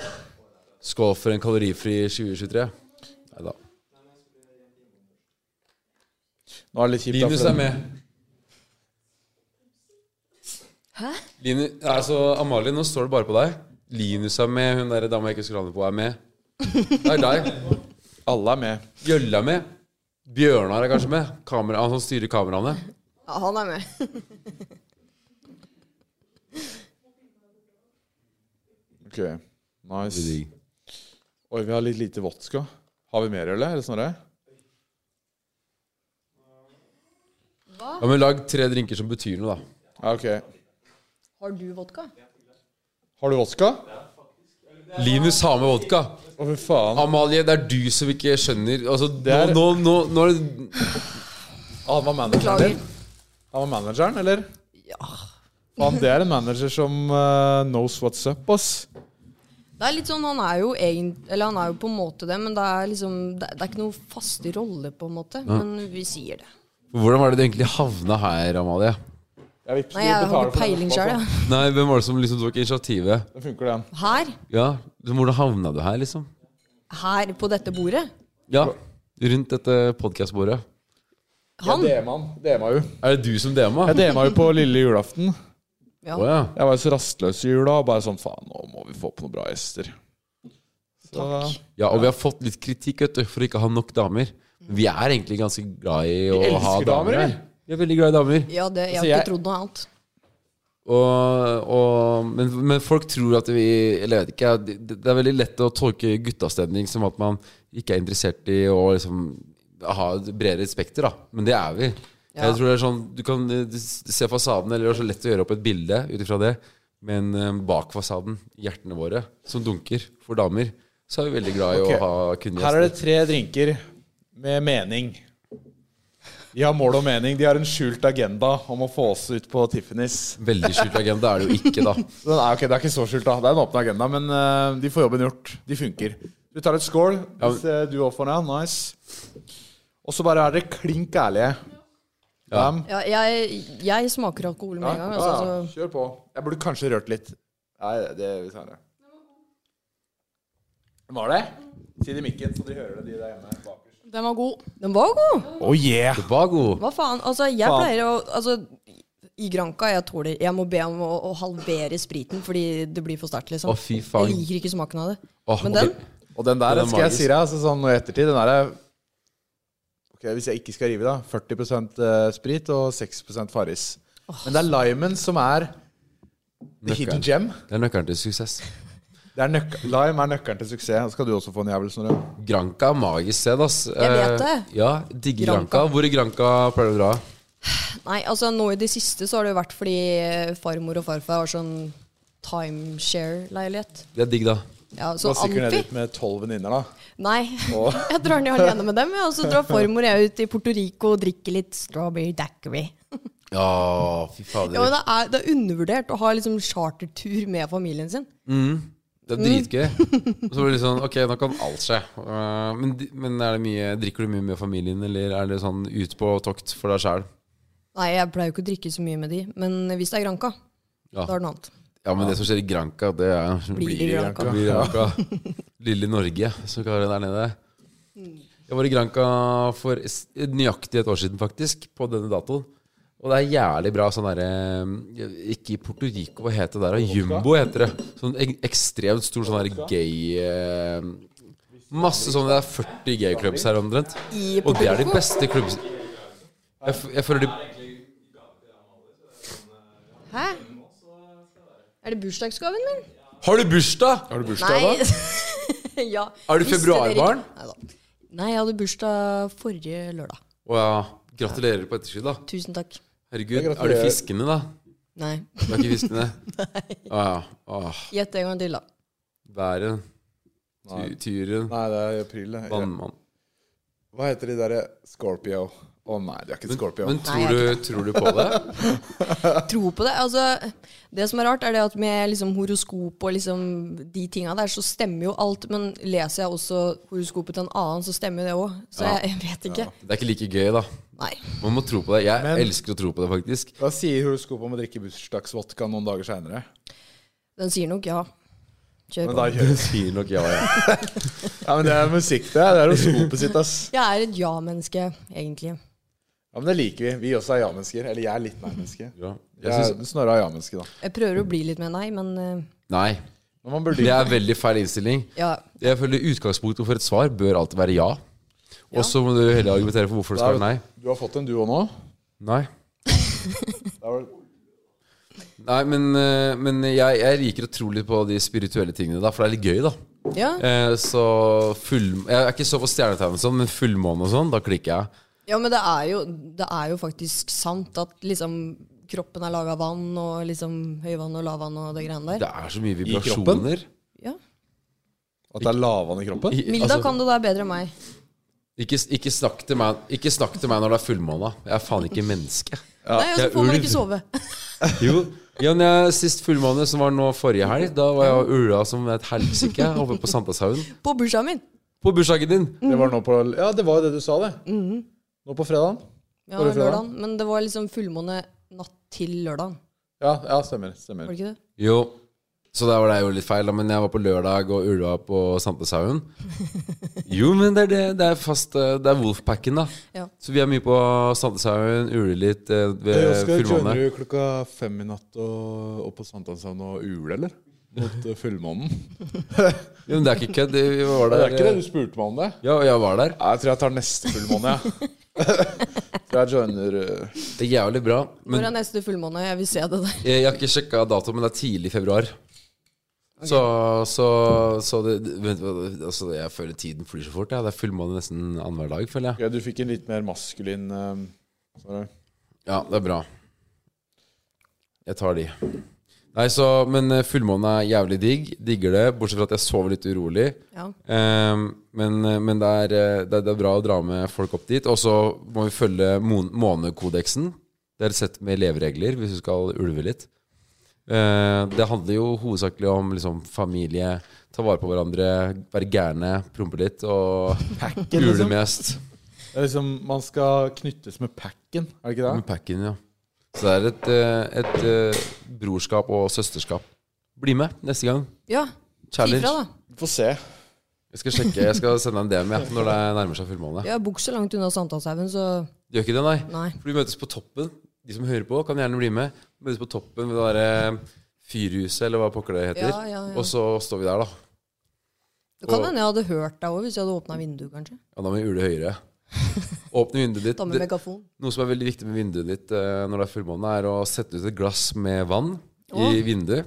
Skål for en kalorifri 2023. Nei da.
Nå er det litt kjipt. da,
Linus
for
er
den-
med.
Hæ?
Linus, altså, Amalie, nå står det bare på deg. Linus er med. Hun der dama jeg ikke skulle ha med på, er med. Det er deg.
Alle er med.
Jølle er med. Bjørnar er kanskje med. Kamera, han som styrer kameraene.
Ja, han er med.
Ok, nice. Oi, vi har litt lite vodka. Har vi mer, eller? Eller Snorre?
Ja, men Lag tre drinker som betyr noe, da.
Ja, ok.
Har du vodka?
Har du vodka?
Linus har med vodka.
Å, fy faen.
Amalie, det er du som ikke skjønner altså,
er-
nå, nå, nå, nå
Han var manageren
Beklager.
din? Han var manageren, eller?
Ja.
Faen, det er en manager som eh, knows what's up, ass.
Det er litt sånn, han er jo egentlig, eller han er jo på en måte det, men det er liksom, det, det er ikke noe fast rolle på en måte, men vi sier det.
Hvordan var det du egentlig havna her, Amalie?
Jeg vil ikke
Nei, jeg har
betale
ikke
for den
peiling
etterpå,
selv,
altså.
jeg.
Nei, Hvem var det som liksom tok initiativet?
Den funker, den.
Her,
Ja, liksom, Hvordan havna du her, liksom?
her på dette bordet,
Ja, Rundt dette podkastbordet.
han,
Jeg DM-a DM jo.
Er det du som DM-a?
Jeg DM-a jo på lille julaften.
ja.
Å, ja.
Jeg var jo så rastløs i jula og bare sånn faen, nå må vi få på noen bra gjester. Så, Takk.
ja, og vi har fått litt kritikk vet du, for å ikke ha nok damer. Men Vi er egentlig ganske glad i å
elsker
ha damer.
damer,
her. Vi er veldig glad i damer.
Ja, det, jeg har
Altså, jeg-
ikke trodd noe annet.
Og, og, men, men folk tror at vi Eller jeg vet ikke. Det, det er veldig lett å tolke guttastemning som at man ikke er interessert i å liksom, ha et bredere spekter, da. Men det er vi.
Ja.
Jeg tror det er sånn Du kan eh, s- se fasaden, eller det er så lett å gjøre opp et bilde ut ifra det. Men eh, bak fasaden, hjertene våre, som dunker for damer, så er vi veldig glad i
Ok.
å ha kvinnelige
Her er det
gjester.
tre drinker med mening. De har mål og mening. De har en skjult agenda om å få oss ut på Tiffany's.
Veldig skjult agenda er det jo ikke, da.
Så den er, ok, det er ikke så skjult, da. Det er en åpen agenda, men eh, de får jobben gjort. De funker. Du tar et skål
Ja,
hvis eh, du òg får den. ja. Nice. Og så bare er dere klink ærlige.
Ja.
Bam.
Ja, jeg, jeg smaker alkohol med en
Ja,
gang.
ja,
Altså, så.
Kjør på. Jeg burde kanskje rørt litt. Nei, det vil vi senere. Var det? Si det i mikken, så de hører det, de der hjemme. bakerst.
Den var god.
Den var god!
Oh yeah!
Bago!
Hva faen? Altså, jeg
Faen.
pleier å altså, I Granca jeg tåler Jeg må be om å, å halvere spriten fordi det blir for sterkt, liksom.
Å, fy
jeg
faen.
liker ikke smaken av det.
Åh,
Men den?
ok.
Og den der,
Den er
skal jeg
magisk.
si deg, altså sånn nå i ettertid, den der er Ok, hvis jeg ikke skal rive, da. 40 eh, sprit og 6 Farris. Men det er limen som er the hidden
Nøkkelen.
gem.
Det er nøkkelen til suksess.
Det er nøk lime er nøkkelen til suksess. Da skal du også få en jævel, Snorre.
Granca er magisk sted, ass.
Jeg vet
Eh,
det.
Ja, digger
Granca.
Granca. Hvor i Granca pleier du å dra?
Nei, altså nå i det siste så har det jo vært fordi eh, farmor og farfar har sånn timeshare-leilighet.
Det er digg, da.
Ja,
Da
så
stikker du ned
Amfi
dit med tolv venninner, da.
Nei. Jeg drar ned alene med dem, jeg, og så drar farmor og jeg ut i Porto Rico og drikker litt strawberry daiquiri.
Ja, fy fader.
Ja, men det er, det er undervurdert å ha liksom chartertur med familien sin.
Det
Mm.
er dritgøy. Og så blir det sånn Ok, nå kan alt skje. Eh, men, di- men er det mye, drikker du mye med familien, eller er det sånn ut på tokt for deg sjæl?
Nei, jeg pleier jo ikke å drikke så mye med de, men hvis det er Granca,
Ja.
da er det noe annet.
ja, men det som skjer i Granca, det er
Blir det Granca?
blir Granca. Lille Norge, som kaller det der nede. Jeg var i Granca for s- nøyaktig et år siden, faktisk, på denne datoen. Og det er jævlig bra sånn derre eh, Ikke i Puerto Rico, hva heter det der? da? Jumbo heter det. Sånn ek ekstremt stor sånn der gay eh, Masse sånne Det er 40 gay clubs her omtrent.
I
Og
Puerto
det er de
Rico?
beste klubbene jeg, f- jeg føler de
Hæ? Er det bursdagsgaven min?
Har du bursdag?!
Har du
Nei. ja.
Er du
Visste dere
februarbarn?
ikke- Neida. Nei, jeg hadde bursdag forrige lørdag.
Å ja. Gratulerer på etterskudd, da.
Tusen takk.
Herregud.
Ja,
Er du
gratulerer.
fiskene, da?
Nei.
Du er ikke fiskene? Å ja. Åh,
Gjett en gang til, da.
været.
Nei.
tu- Turen.
Nei, det er i april. det.
Vannmann.
Hva heter de derre Scorpio? Å nei, du er ikke Scorpio.
Men
Nei,
tror du, tror du på det?
Tro på det. Altså, det som er rart, er det at med liksom horoskop og liksom de tinga der, så stemmer jo alt. Men leser jeg også horoskopet til en annen, så stemmer jo det òg. Så
Ja.
jeg, jeg vet ikke.
Det er ikke like gøy, da.
Nei.
Man må tro på det. Jeg
Men-
elsker å tro på det, faktisk.
Hva sier horoskopet om å drikke bursdagsvodka noen dager seinere?
Den sier nok ja. Kjør
Men
på.
da kjører
Sier nok ja, ja.
Ja, men det er musikk, det. Det er horoskopet sitt, ass.
Jeg er et ja-menneske, egentlig.
Ja, men det liker vi. Vi også er ja-mennesker. Eller jeg er litt nei-menneske.
Ja. Jeg
Jeg
synes,
syns Snorre er ja-menneske, da.
Jeg prøver å bli litt mer nei, men eh,
nei.
Men man burde
Det er veldig feil innstilling.
ja.
Jeg føler Utgangspunktet for et svar bør alltid være ja. Og så må du heller argumentere for hvorfor det skal være nei.
Du har fått en, du òg nå?
Nei.
Det er vel-
Nei, men, eh, men jeg, jeg liker å tro litt på de spirituelle tingene, da, for det er litt gøy, da.
Ja.
Eh, så full, Jeg er ikke så for stjernetegn og sånn, men fullmåne og sånn, da klikker jeg.
Ja, men det er jo, det er jo faktisk sant at liksom kroppen er laga av vann, og liksom høyvann og lavvann og det greiene der.
Det er så mye
kroppen?
vibrasjoner.
Ja.
At det er lavvann i kroppen?
I-
Milda
altså,
kan det der bedre enn meg.
ikke, ikke, snakk til meg, ikke snakk til meg når det er fullmåne. Jeg er faen ikke menneske.
Nei, og så
Jeg er
får man
ulv.
ikke sove.
Jo, ja, når jeg, Sist fullmåne, som var nå forrige helg, da var jeg og ula som et helsike oppe på Sankthanshaugen.
På bursdagen min.
På bursdagen din!
Det var nå på Ja, det var jo det du sa, det. Nå på fredagen.
Ja,
Var det fredag?
lørdagen. Men det var liksom fullmåne natt til lørdagen.
Ja, ja stemmer. stemmer.
Var det ikke det?
Jo. Så der var det jo litt feil, da, men jeg var på lørdag og ulva på Santeshaugen. Jo, men det er, det, det er fast eh, Det er Wolfpacken, da.
Ja.
Så vi er mye på Santeshaugen, uler litt eh,
Eh,
ved
Oskar,
fullmåne.
joiner du klokka fem i natt og opp på Sankthanshavn og ule, eller? Mot eh, fullmånen?
Jo, men det er ikke kødd. Vi var
Det
der.
er ikke det du
eh,
spurte meg om det?
Ja, og jeg var der.
Nei, Jeg tror jeg tar neste fullmåne, jeg. tror jeg joiner eh,
Det er jævlig bra.
Når
Men
er neste fullmåne? Jeg vil se det der.
jeg, jeg har ikke sjekka dato, men det er tidlig i februar. Så, så, så det, det- vent, hva- altså, Jeg føler tiden flyr så fort. Ja. Det er fullmåne nesten annenhver dag, føler jeg.
Ok, Du fikk en litt mer maskulin eh, Snorre.
Ja, det er bra. Jeg tar de. Nei, så, Men eh, fullmånen er jævlig digg. Digger det. Bortsett fra at jeg sover litt urolig.
Ja.
Eh, men men det, er, eh, det, er- det er bra å dra med folk opp dit. Og så må vi følge mon månekodeksen. Det er et sett med leveregler hvis du skal ulve litt. Eh, det handler jo hovedsakelig om liksom, familie, ta vare på hverandre, være gærne, prompe litt og ule mest.
Det er liksom, Man skal knyttes med packen, er det ikke
Med
det?
packen, ja. Så det er et, eh, et eh, brorskap og søsterskap. Bli med neste gang.
Ja, si
Challenge.
fra, da.
Vi får se.
Jeg skal sjekke, jeg skal sende deg en DM jeg, når det nærmer seg fullmåne.
Jeg bor ikke så langt unna Sankthanshaugen, så
Gjør ikke det, nei.
nei.
For vi møtes på toppen. De som hører på, kan gjerne bli med. Møtes på toppen ved det derre Fyrhuset, eller hva pokker det heter.
Ja, ja, ja.
Og så står vi der, da.
Det kan
Og-
hende jeg hadde hørt deg òg hvis jeg hadde åpna vinduet, kanskje.
Ja, da må vi ule høyere. Åpne vinduet ditt.
Ta med
Det-
megafon.
Noe som er veldig viktig med vinduet ditt eh, når det er fullmåne, er å sette ut et glass med vann
Åh.
i vinduet.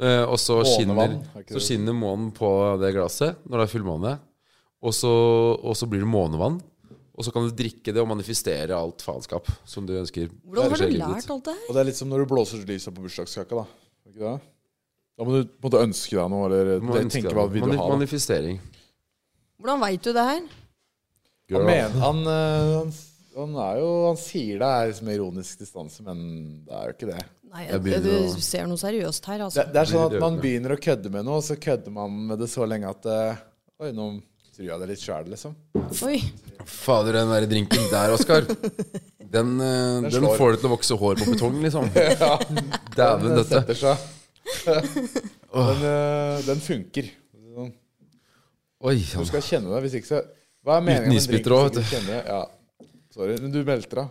eh, og så skinner,
Månevann, er ikke det?
så skinner månen på det glasset når det er fullmåne. Og så, og så blir det månevann. Og så kan du drikke det og manifestere alt faenskap som du ønsker.
Hvordan har du
skjer i livet ditt.
lært alt det her?
Og det er litt som når du blåser lyset på bursdagskaka, da. Er det Ikke det? Da må du på en måte ønske deg noe, eller
Du må ønske
tenke
deg
hva
det.
vil du
Mani-
ha. da?
Manifestering.
Hvordan veit du det her?
Han,
Girl.
mener, han, eh, han, han er jo Han sier det er liksom ironisk distanse, men det er jo ikke det.
Nei,
Jeg
du,
begynner å-
du ser noe seriøst her,
Det,
altså.
det er sånn at
Blir
man
det
begynner å kødde med noe, og så kødder man med det så lenge at eh, Oi, nå tror jeg det er litt sjæl, liksom.
Oi.
Fader, den der drinken der, Oskar. Den, eh, den
slår.
får det til å vokse hår på betong, liksom. Dæven,
Den
dette.
eh, setter seg. den, eh, den funker. Sånn.
Oi,
Du
han
skal kjenne det, hvis ikke så Hva er meningen
Uten
med
isbiter
drinken hvis
også,
du ikke kjenner det? Ja. Sorry, men du melter av.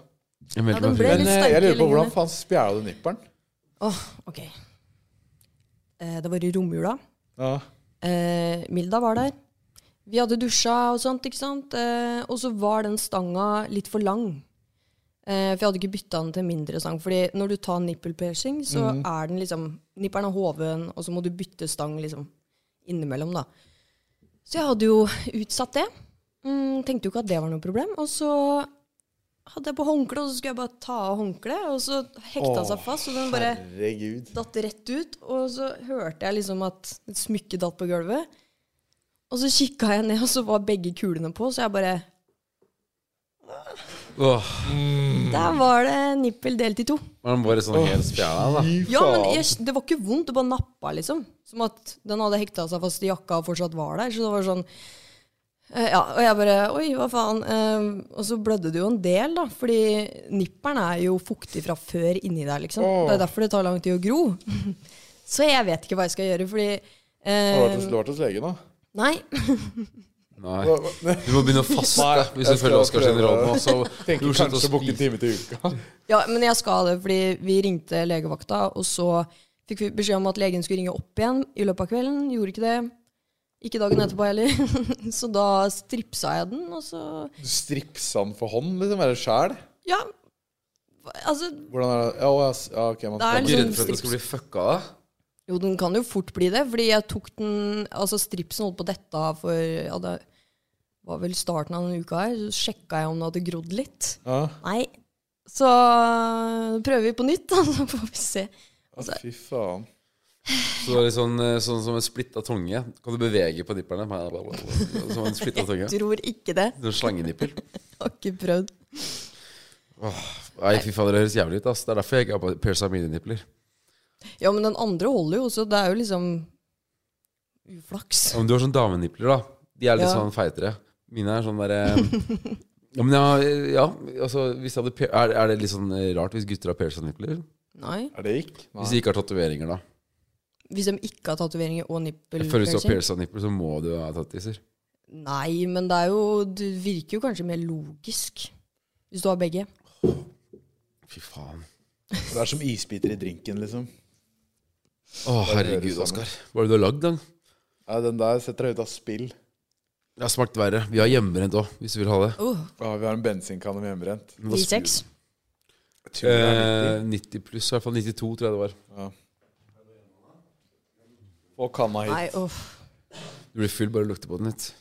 jeg
Ja,
meldte
den ble
meg fri.
Men
litt
eh,
sterkere
jeg lurer på hvordan
liggende.
faen spjæla du nipperen?
Åh, ok. Eh, det var i romjula.
Ja.
Eh, Milda var der. Vi hadde dusja og sånt, ikke sant? Eh, og så var den stanga litt for lang. Eh, for jeg hadde ikke bytta den til en mindre stang. Fordi når du tar nippelpiercing, så er den liksom Nipperen er hoven, og så må du bytte stang liksom innimellom, da. Så jeg hadde jo utsatt det. Mm, tenkte jo ikke at det var noe problem. Og så hadde jeg på håndkle, og så skulle jeg bare ta av håndkleet, og så hekta den seg fast, og den bare
Herregud.
datt rett ut, og så hørte jeg liksom at et smykke datt på gulvet. Og så kikka jeg ned, og så var begge kulene på, så jeg bare
Åh,
Der var det nippel delt i to.
man bare sånn helt spjæla, da.
Ja, men jeg, det var ikke vondt, det bare nappa, liksom. Som at den hadde hekta seg fast i jakka og fortsatt var der. Så det var sånn eh, Ja, og jeg bare Oi, hva faen? Eh, og så blødde det jo en del, da. Fordi nipperen er jo fuktig fra før inni der, liksom. Det er derfor det tar lang tid å gro. så jeg vet ikke hva jeg skal gjøre, fordi
Har
eh,
du vært hos- du har vært hos legen, da?
Nei.
Nei. Du må begynne å faste
Nei,
hvis
jeg
du følger
skal
Oskars
prøve.
råd nå. Så
Tenker
jo, slutt å
kanskje å booke en
spise.
time til uka.
Ja, men jeg skal det, fordi vi ringte legevakta, og så fikk vi beskjed om at legen skulle ringe opp igjen i løpet av kvelden. Gjorde ikke det. Ikke dagen etterpå heller. så da stripsa jeg den, og så
Du stripsa den for hånd, liksom? Eller sjæl?
Ja. Altså
Hvordan er det? Ja, å, ja, s- ja, ok, man
Det er liksom
skal
Er du redd for at det skal bli fucka av?
Jo, den kan jo fort bli det, fordi jeg tok den Altså, stripsen holdt på å dette av for Ja, det var vel starten av denne uka her. Så sjekka jeg om den hadde grodd litt.
ja.
Nei. Så prøver vi på nytt, da, så får vi se.
Altså, Fy faen.
Så det er litt sånn, eh, sånn som en splitta tunge. Kan du bevege på nipperne? Som en splitta tunge.
Tror ikke det.
Sånn slangenipper.
Har ikke prøvd.
Nei, fy fader, det høres jævlig ut. ass Det er derfor jeg ikke har pierca mine nippler.
Ja, men den andre holder jo, så det er jo liksom uflaks.
Ja, men du har sånn damenipler, da. De er litt
Ja.
sånn feitere. Mine er sånn derre ja, men ja, ja, altså hvis jeg hadde pier- er, er det litt sånn eh, rart hvis gutter har pierca nipler?
Nei.
Er det gikk?
Hvis de ikke har tatoveringer, da.
Hvis de ikke har tatoveringer og nippel
For hvis du har
piercing.
pierca nipler, så må du ha tattiser.
Nei, men det er jo Det virker jo kanskje mer logisk. Hvis du har begge.
Fy faen.
Det er som isbiter i drinken, liksom.
Å, herregud,
sammen.
Oskar. Hva er det du har lagd, da?
Ja, den der setter deg ut av spill.
Det har smakt verre. Vi har hjemmebrent òg, hvis du vil ha det.
Oh,
Ja, vi har en bensinkanne med hjemmebrent.
var
96.
Jeg tror det er
Eh, 90 pluss, i hvert fall 92, tror jeg det var.
viktig. Få kanna hit.
Nei, uff.
Du blir full, bare lukter på den litt.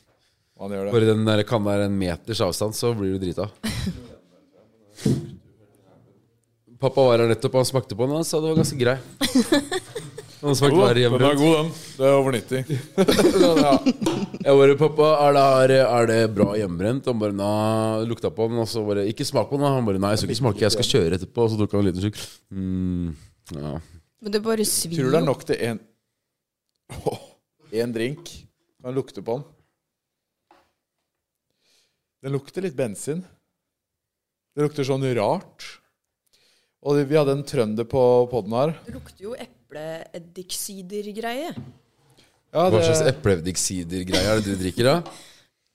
Man gjør det.
Bare den der kanna er en meters avstand, så blir du drita. Pappa var her nettopp, han smakte på den, han sa det var ganske grei. Noen som har kvar
Oh, den er
hjemmebrent.
god, den. Det er over 90.
Sånn, ja. Jeg bare, pappa, er det, her, er det bra hjemmebrent? Han bare, nei, lukta på den, og så bare, ikke smak på den. da. Han bare, nei, jeg skal ikke smake, jeg skal kjøre etterpå. Og så tok han en liten slurk. Mm, ja.
Men det bare svir.
Tror du det er
jo.
nok til én Én drink? Kan lukte på den. Den lukter litt bensin. Det lukter sånn rart. Og vi hadde en trønder på poden her.
Det lukter jo epleeddiksider-greie.
Ja,
Hva slags epledikksider-greie er det du drikker, da?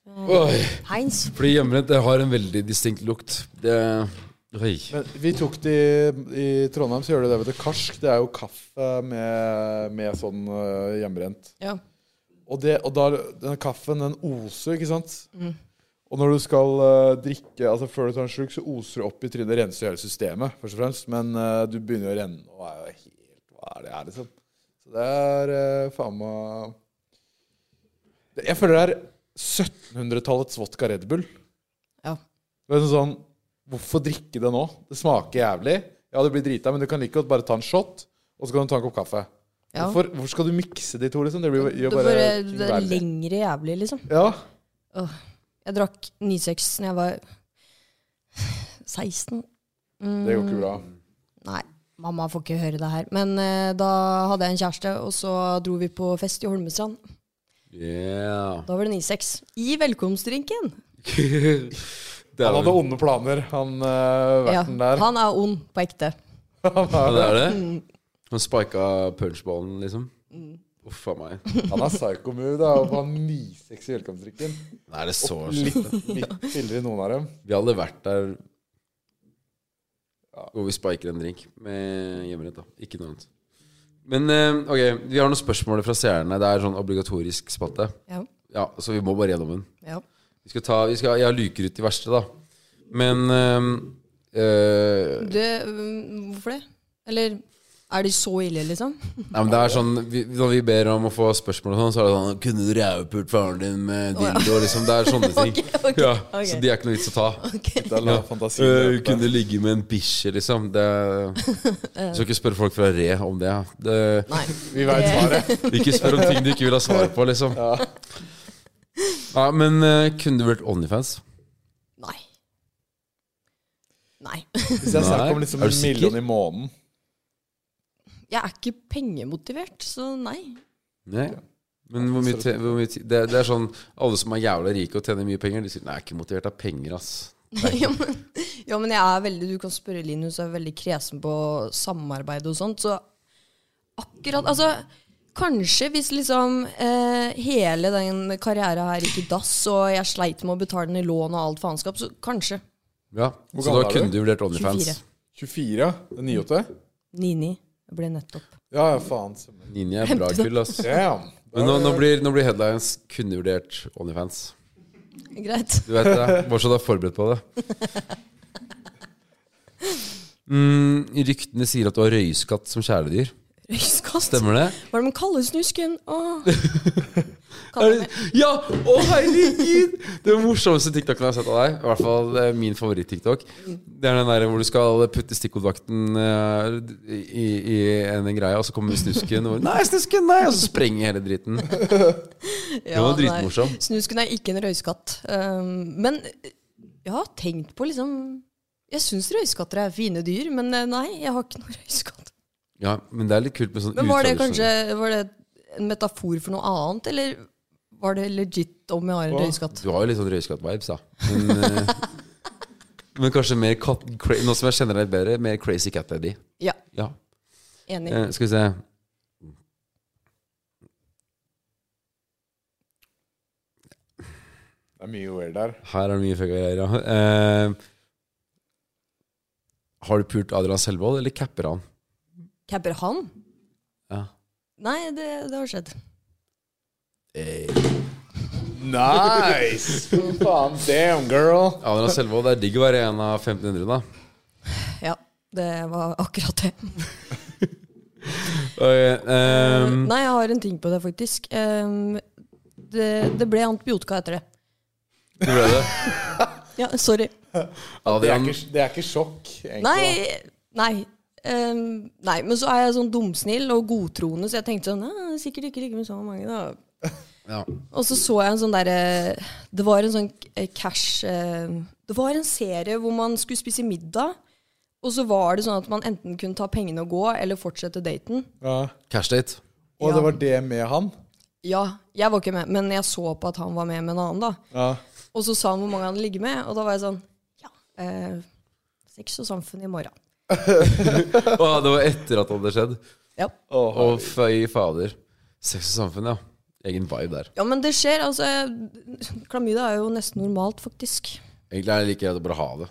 Oi,
Heinz.
fordi hjemmebrent det har en veldig distinkt lukt. Det, oi.
Men vi tok det i, i Trondheim, så gjør de det vet du, karsk. Det er jo kaffe med, med sånn øh, hjemmebrent.
Ja.
Og, det, og da, denne kaffen, den oser, ikke sant? Og når du skal øh, drikke, altså før du tar en slurk, så oser du opp i trynet. Det renser hele systemet, først og fremst. Men øh, du begynner jo å renne og er jo helt Hva er det her, liksom? Så det er øh, faen meg Det- Jeg føler det er 1700-tallets vodka Red Bull.
ja.
Det er sånn, Hvorfor drikke det nå? Det smaker jævlig. Ja, det blir drita, men du kan like godt bare ta en shot, og så kan du ta en kopp kaffe.
Ja.
Hvorfor, hvorfor skal du mikse de to, liksom? Det blir jo-
Det
gjør
er
bare,
bare
ting
det er
verre.
lengre jævlig, liksom.
Ja.
Jeg drakk 96 da jeg var 16. Mm,
Det går ikke bra.
Nei, mamma får ikke høre det her. Men eh, da hadde jeg en kjæreste, og så dro vi på fest i Holmestrand.
Yeah.
Da var det 96. I velkomstdrinken.
Det
Han
er,
hadde
vel-
onde planer, han uh,
Ja,
verten der.
han er ond på ekte.
Ja, det er det.
Mm.
Han spika punchballen, liksom. Uff a meg.
Han er psycho-move, da. Og han nisexy i velkomstdrikken.
Nei, det er så
Litt, litt piller i noen av dem.
Vi hadde vært der hvor vi spiker en drink med hjemmerett, da. Ikke noe annet. Men eh, ok, vi har noen spørsmål fra seerne. Det er sånn obligatorisk spalte.
Ja,
Ja, Så vi må bare gjennom den.
ja.
Vi skal ta, vi skal, jeg luker ut de verste, da. Men eh, eh,
Det, mm, hvorfor det? Eller er de så ille, liksom?
Nei, men det er sånn vi, Når vi ber om å få spørsmål og sånn, så er det sånn 'Kunne du rævpult faren din med
Å, ja.
dildo?' liksom. Det er sånne ting.
Ok, ok,
ja,
ok.
Så de er ikke noe vits å ta.
Litt av
Ja.
fantasien
Øh,
der.
kunne ligge med en bikkje, liksom. Det, du skal ikke spørre folk fra Re om det. det
Eh, Nei.
Vi
Eh.
veit svaret.
ikke spør om ting du ikke vil ha svar på, liksom. Ja. men øh, kunne du vært Onlyfans?
Nei. Nei.
Hvis jeg snakker om
Nei.
liksom
Er du
en
sikker?
million i måneden
Jeg er ikke pengemotivert, så nei.
Nei. Men hvor mye, te- hvor mye ti- det, det er sånn Alle som er jævla rike og tjener mye penger, de sier 'nei, jeg er ikke motivert av penger', ass.
ja, men, ja, men jeg er veldig Du kan spørre Linus, jeg er veldig kresen på samarbeid og sånt. Så akkurat Altså, kanskje hvis liksom eh, hele den karrieren her gikk i dass, og jeg sleit med å betale ned lån og alt faenskap, så kanskje.
Ja,
Hvor
Så
gammel
da
er
kunne
du?
du vurdert Onlyfans.
24.
24, ja. Det er 98?
Nini. Jeg ble nettopp.
Ja, ja, faen.
Ninja er bra kull, ass.
Damn.
Men nå, nå, blir, nå blir headlines 'kunne vurdert Onlyfans'.
Greit.
Du vet det. Bare så du er forberedt på det. Mm, ryktene sier at du har røyskatt som kjæledyr.
Røyskatt.
Stemmer det?
Hva er det man kaller snusken? Åh.
Er
Kaller
det
det
ja! Å, herregud! Det morsomste TikToken jeg har sett av deg, i hvert fall eh, min favoritt-TikTok, det er den der hvor du skal putte stikkordvakten eh, i, i en greie, og så kommer snusken og bare, Nei, snusken! Nei! Og så sprenger hele dritten.
ja,
var
nei.
dritmorsom.
Snusken er ikke en røyskatt. Um, men jeg har tenkt på liksom Jeg syns røyskatter er fine dyr, men eh, nei, jeg har ikke noe røyskatt.
Ja, men det er litt kult med sånn
Men var det kanskje
utradisjonell-
var det en metafor for noe annet, eller var det legit om jeg har en røyskatt?
Du har jo litt sånn røyskatt-vibes, da. Men, eh, men kanskje mer kat... Cra nå som jeg kjenner deg litt bedre, mer crazy cat daddy.
Ja,
Ja.
enig.
Eh, skal vi se
Det er mye weird der.
Her er det mye fucka greier, ja. Eh, har du pult Adrian Selvold, eller capper han?
Capper han?
Ja.
Nei, det, det har skjedd.
Eh,
Nice! Fy faen, damn, girl.
Adrian Selvold, det er digg å være en av 1500, da.
Ja, det var akkurat det.
Ok, ehm,
Nei, jeg har en ting på det, faktisk. Um, det, det ble antibiotika etter det.
det ble det.
Ja, sorry.
Det er
Adrian,
ikke, det er ikke sjokk, egentlig.
Nei, nei. Ehm, nei, men så er jeg sånn dumsnill og godtroende, så jeg tenkte sånn «Ah, Sikkert ikke ligge med så mange, da.
Ja.
Og så så jeg en sånn derre Det var en sånn eh, cash eh, Det var en serie hvor man skulle spise middag, og så var det sånn at man enten kunne ta pengene og gå, eller fortsette daten.
Ja.
Cashdate.
Og
Ja.
det var det med han?
Ja, jeg var ikke med, men jeg så på at han var med med en annen, da.
Ja.
Og så sa han hvor mange han ligger med, og da var jeg sånn Ja. Eh, sex og samfunn i morgen.
Å, det var etter at det hadde skjedd.
Ja.
Å, føy fader. Sex og samfunn, ja. Egen vibe der.
ja, men det skjer. Altså, jeg- klamydia er jo nesten normalt, faktisk.
Egentlig er det like greit å bare ha det.